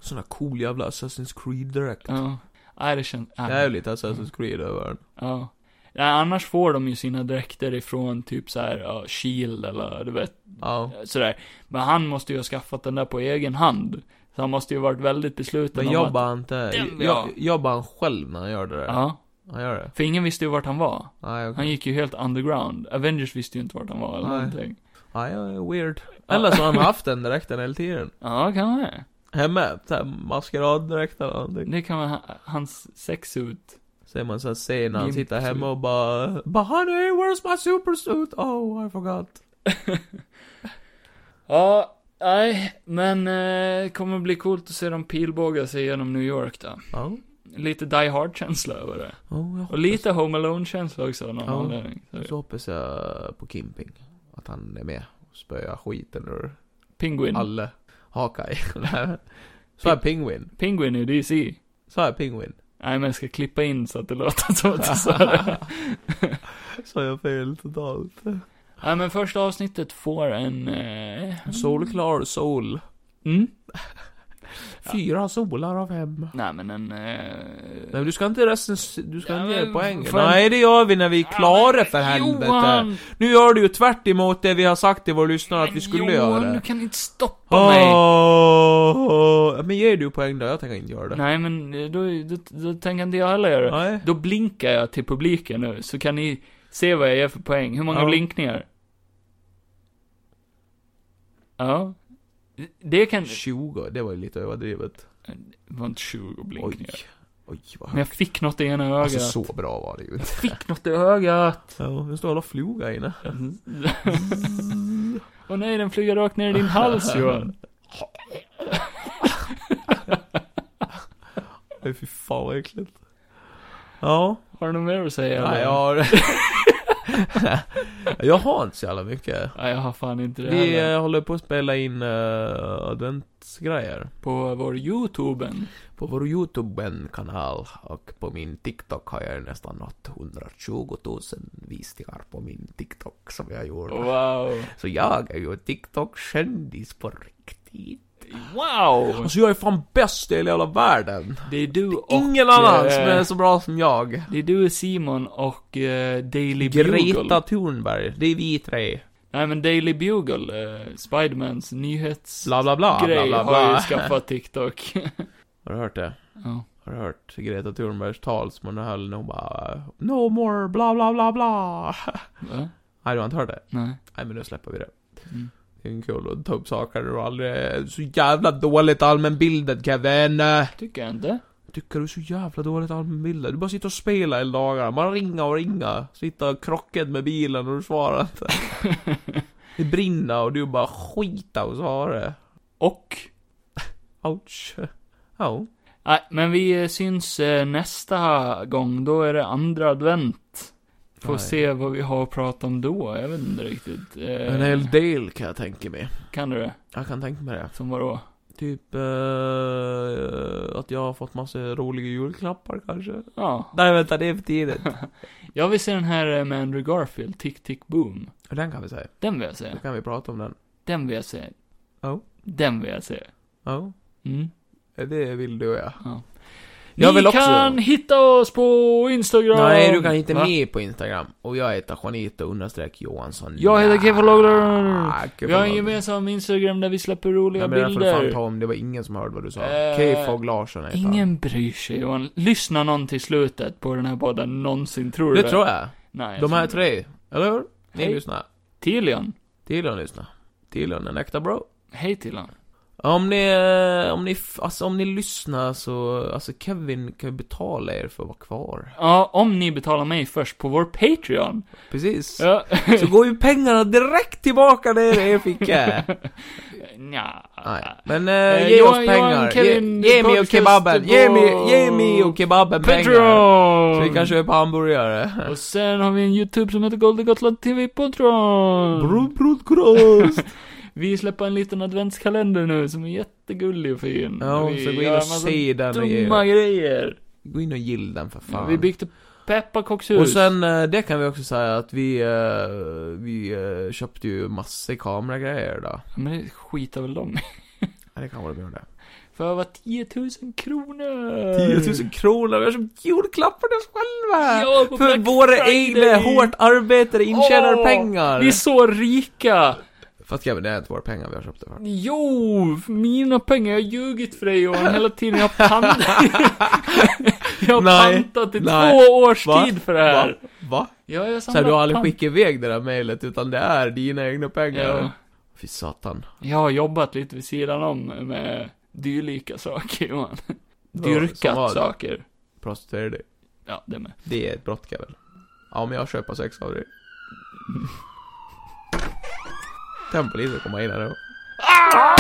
Speaker 2: Sån här cool jävla Assassin's Creed direkt.
Speaker 1: ja. Nej, det känns... nej.
Speaker 2: Det är ju lite Assassin's Creed över den.
Speaker 1: Ja. Nej, annars får de ju sina dräkter ifrån typ så här, ja, Shield eller du vet,
Speaker 2: Ja.
Speaker 1: sådär. Men han måste ju ha skaffat den där på egen hand. Så han måste ju varit väldigt besluten
Speaker 2: Men
Speaker 1: om att...
Speaker 2: jobbar han inte,
Speaker 1: Den vill jag ha.
Speaker 2: jo- jobbar han själv när han gör det där?
Speaker 1: Ja.
Speaker 2: Han gör det?
Speaker 1: För ingen visste ju vart han var.
Speaker 2: Nej, okej.
Speaker 1: Han gick ju helt underground. Avengers visste ju inte vart han var eller
Speaker 2: Nej.
Speaker 1: någonting.
Speaker 2: Nej, jag är weird. Eller så har han haft den dräkten hela tiden.
Speaker 1: Ja, kan vara.
Speaker 2: Hemma, såhär maskeraddräkt eller någonting.
Speaker 1: Det kan vara ha- hans sexsuit.
Speaker 2: Ser man såhär scen när han
Speaker 1: Gimp typ.
Speaker 2: sitter
Speaker 1: suit.
Speaker 2: hemma och bara But honey, where's my supersuit? Oh, I forgot.
Speaker 1: Ja, nej, men eh, kommer bli coolt att se dem pilbåga sig genom New York då.
Speaker 2: Ja.
Speaker 1: Lite Die Hard-känsla över det.
Speaker 2: Oh, jag
Speaker 1: Och
Speaker 2: hoppas-
Speaker 1: lite Home Alone-känsla också av någon
Speaker 2: Ja.
Speaker 1: anledning. Så,
Speaker 2: Så hoppas jag på Kimping. Att han är med och spöar skiten ur
Speaker 1: Penguin.
Speaker 2: alla. Hawkeye. så är Penguin.
Speaker 1: Penguin är ju DC.
Speaker 2: Så är Penguin.
Speaker 1: Nej, men jag ska klippa in så att det låter som att jag sa det.
Speaker 2: Så jag fel totalt.
Speaker 1: Nej, men första avsnittet får en... Eh,
Speaker 2: Solklar sol.
Speaker 1: mm?
Speaker 2: Fyra solar av fem.
Speaker 1: Nej, men en... Eh,
Speaker 2: Nej men du ska inte resten, du ska
Speaker 1: Ja,
Speaker 2: inte ge
Speaker 1: men
Speaker 2: poäng.
Speaker 1: för-
Speaker 2: Nej det gör vi när vi är klara
Speaker 1: men
Speaker 2: för helvete.
Speaker 1: Johan!
Speaker 2: Nu gör du ju tvärt emot det vi har sagt till våra lyssnare att vi skulle
Speaker 1: Johan, du
Speaker 2: göra.
Speaker 1: kan inte stoppa mig.
Speaker 2: Åh, åh. Men ger du poäng då? Jag tänker inte göra det.
Speaker 1: Nej, men eh, då, då, då tänker inte jag heller göra det.
Speaker 2: Nej.
Speaker 1: Då blinkar jag till publiken nu, så kan ni se vad jag ger för poäng. Hur många
Speaker 2: Ja.
Speaker 1: blinkningar? Ja. Det kan...
Speaker 2: 20, det var ju lite överdrivet.
Speaker 1: Det var inte 20
Speaker 2: Oj.
Speaker 1: blinkningar.
Speaker 2: Oj vad
Speaker 1: Men jag fick något i ena ögat.
Speaker 2: Alltså så bra var det ju inte.
Speaker 1: Fick något i ögat.
Speaker 2: Ja, nu står alla fluga inne.
Speaker 1: Åh nej, den flyger rakt ner i din hals Johan.
Speaker 2: Nej fy fan vad äckligt. Ja.
Speaker 1: Har du något mer att säga?
Speaker 2: Nej
Speaker 1: eller?
Speaker 2: jag har... jag har inte så jävla mycket.
Speaker 1: Nej, jag har fan inte det
Speaker 2: Vi
Speaker 1: heller.
Speaker 2: eh, håller på att spela in eh, adventsgrejer
Speaker 1: På vår YouTuben.
Speaker 2: på vår YouTube-kanal och på min TikTok har jag nästan nått 120 000 visningar på min TikTok som jag gjorde.
Speaker 1: Wow.
Speaker 2: Så jag är ju TikTok-kändis på riktigt.
Speaker 1: Wow!
Speaker 2: Alltså jag är fan bäst i hela jävla världen!
Speaker 1: Det är du och...
Speaker 2: Ingen annan som är
Speaker 1: eh,
Speaker 2: så bra som jag.
Speaker 1: Det är du, Simon och eh, Daily
Speaker 2: Greta
Speaker 1: Bugle.
Speaker 2: Thunberg, det är vi tre.
Speaker 1: Nej men Daily Bugle, eh, Spidermans nyhetsgrej
Speaker 2: Bla bla bla, bla bla
Speaker 1: har ju
Speaker 2: bla.
Speaker 1: skaffat TikTok.
Speaker 2: Har du hört det?
Speaker 1: ja.
Speaker 2: Har du hört Greta Thunbergs tal som hon höll när hon bara No more bla bla bla bla.
Speaker 1: Va?
Speaker 2: Nej, du har inte hört det?
Speaker 1: Nej.
Speaker 2: Nej, men nu släpper vi det.
Speaker 1: Mm.
Speaker 2: Det är en kul att ta upp saker du aldrig... Så jävla dåligt allmänbilden Kevin!
Speaker 1: Tycker jag inte.
Speaker 2: Tycker du är så jävla dåligt allmänbilden? Du bara sitter och spelar hela dagarna. Man ringa och ringa. Sitta krockad med bilen och du svarar inte. det brinner och du bara skita och svara.
Speaker 1: Och?
Speaker 2: Ouch. Ja.
Speaker 1: Nej, men vi eh, syns eh, nästa gång. Då är det andra advent. Får
Speaker 2: Nej.
Speaker 1: se vad vi har att prata om då. Jag vet inte riktigt. Eh,
Speaker 2: En hel del kan jag tänka mig.
Speaker 1: Kan du det?
Speaker 2: Jag kan tänka mig det.
Speaker 1: Som vadå?
Speaker 2: Typ eh, att jag har fått massa roliga julklappar kanske.
Speaker 1: Ja.
Speaker 2: Nej vänta, det är för tidigt.
Speaker 1: Jag vill se den här eh, med Andrew Garfield, Tick Tick Boom.
Speaker 2: Och Den kan vi säga.
Speaker 1: Den vill jag
Speaker 2: Då
Speaker 1: se.
Speaker 2: kan vi prata om den.
Speaker 1: Den vill jag se.
Speaker 2: Ja.
Speaker 1: Den vill jag se.
Speaker 2: Ja,
Speaker 1: Mm.
Speaker 2: det vill du ja.
Speaker 1: Ja.
Speaker 2: Jag
Speaker 1: Ni
Speaker 2: vill också-
Speaker 1: kan hitta oss på Instagram!
Speaker 2: Nej, du kan hitta
Speaker 1: Va?
Speaker 2: mig på Instagram. Och jag heter Juanito understreck Johansson. Ah,
Speaker 1: Jag heter Kevin Logler.
Speaker 2: Nej,
Speaker 1: Vi
Speaker 2: Kevin
Speaker 1: har en
Speaker 2: Logler.
Speaker 1: gemensam Instagram där vi släpper roliga
Speaker 2: Nej, men den får du fan
Speaker 1: bilder.
Speaker 2: ta om. Det var ingen som hörde vad du sa.
Speaker 1: Eh,
Speaker 2: Äh, Fogg Larsson heter han.
Speaker 1: Ingen bryr sig Johan. Lyssna någon till slutet på den här podden någonsin, tror du
Speaker 2: Det tror jag.
Speaker 1: Nej,
Speaker 2: De här
Speaker 1: tror-
Speaker 2: tre. Eller hur? Ni
Speaker 1: Hej.
Speaker 2: lyssnar.
Speaker 1: Tilion.
Speaker 2: Tilion lyssnar. Tilion, en äkta bro.
Speaker 1: Hej Tilion.
Speaker 2: Om ni, eh, om ni, f- alltså om ni lyssnar så, alltså Kevin kan ju betala er för att vara kvar.
Speaker 1: Ja, om ni betalar mig först på vår Patreon.
Speaker 2: Precis.
Speaker 1: Ja.
Speaker 2: Så går ju pengarna direkt tillbaka ner i er ficka.
Speaker 1: nja.
Speaker 2: Nej. Men eh,
Speaker 1: Eh,
Speaker 2: ge
Speaker 1: Johan-
Speaker 2: oss pengar.
Speaker 1: Johan Kevin
Speaker 2: ge, ge mig och
Speaker 1: podcast
Speaker 2: kebaben. Ge mig, ge
Speaker 1: på
Speaker 2: mig och kebaben pengar. Så
Speaker 1: Patreon!
Speaker 2: vi kan köpa hamburgare.
Speaker 1: Och sen har vi en YouTube som heter Golden Gotland TV Patreon!
Speaker 2: Broadcast.
Speaker 1: Vi släpper en liten adventskalender nu som är jättegullig och fin.
Speaker 2: Ja,
Speaker 1: vi
Speaker 2: så
Speaker 1: gör
Speaker 2: gå in
Speaker 1: en
Speaker 2: och
Speaker 1: massa
Speaker 2: se den. och ge-
Speaker 1: Dumma grejer.
Speaker 2: Gå in och gilla den för fan.
Speaker 1: Vi byggde pepparkakshus.
Speaker 2: Och sen, eh, det kan vi också säga att vi, eh, vi eh, köpte ju massor kameragrejer då.
Speaker 1: Men det skitar väl de i.
Speaker 2: Ja, det kan vara bra det.
Speaker 1: För över 10 000 kronor!
Speaker 2: 10 000 kronor, vi har köpt julklappar till oss själva!
Speaker 1: Ja, på
Speaker 2: för
Speaker 1: Black
Speaker 2: våra
Speaker 1: Friday.
Speaker 2: egna hårt arbetade intjänade
Speaker 1: Åh,
Speaker 2: pengar!
Speaker 1: Vi är så rika!
Speaker 2: Fast Kevin, det är inte våra pengar vi har köpt det för.
Speaker 1: Jo, för mina pengar, jag har ljugit för dig Johan hela tiden, jag har pantat. jag har
Speaker 2: Nej,
Speaker 1: pantat i
Speaker 2: nej.
Speaker 1: två års
Speaker 2: Va?
Speaker 1: tid för det här.
Speaker 2: Va? Va?
Speaker 1: Ja, jag
Speaker 2: Så här, du har aldrig
Speaker 1: pant-
Speaker 2: skickat iväg det där mejlet, utan det är dina egna pengar?
Speaker 1: Ja.
Speaker 2: Fy satan.
Speaker 1: Jag har jobbat lite vid sidan om med dylika saker Johan.
Speaker 2: Bra, som
Speaker 1: Dyrkat
Speaker 2: vad?
Speaker 1: saker.
Speaker 2: Prostituera dig.
Speaker 1: Ja, det med.
Speaker 2: Det är ett brott Kevin. Ja, men jag köper sex av dig. Kan polisen komma in här då?
Speaker 1: Ah!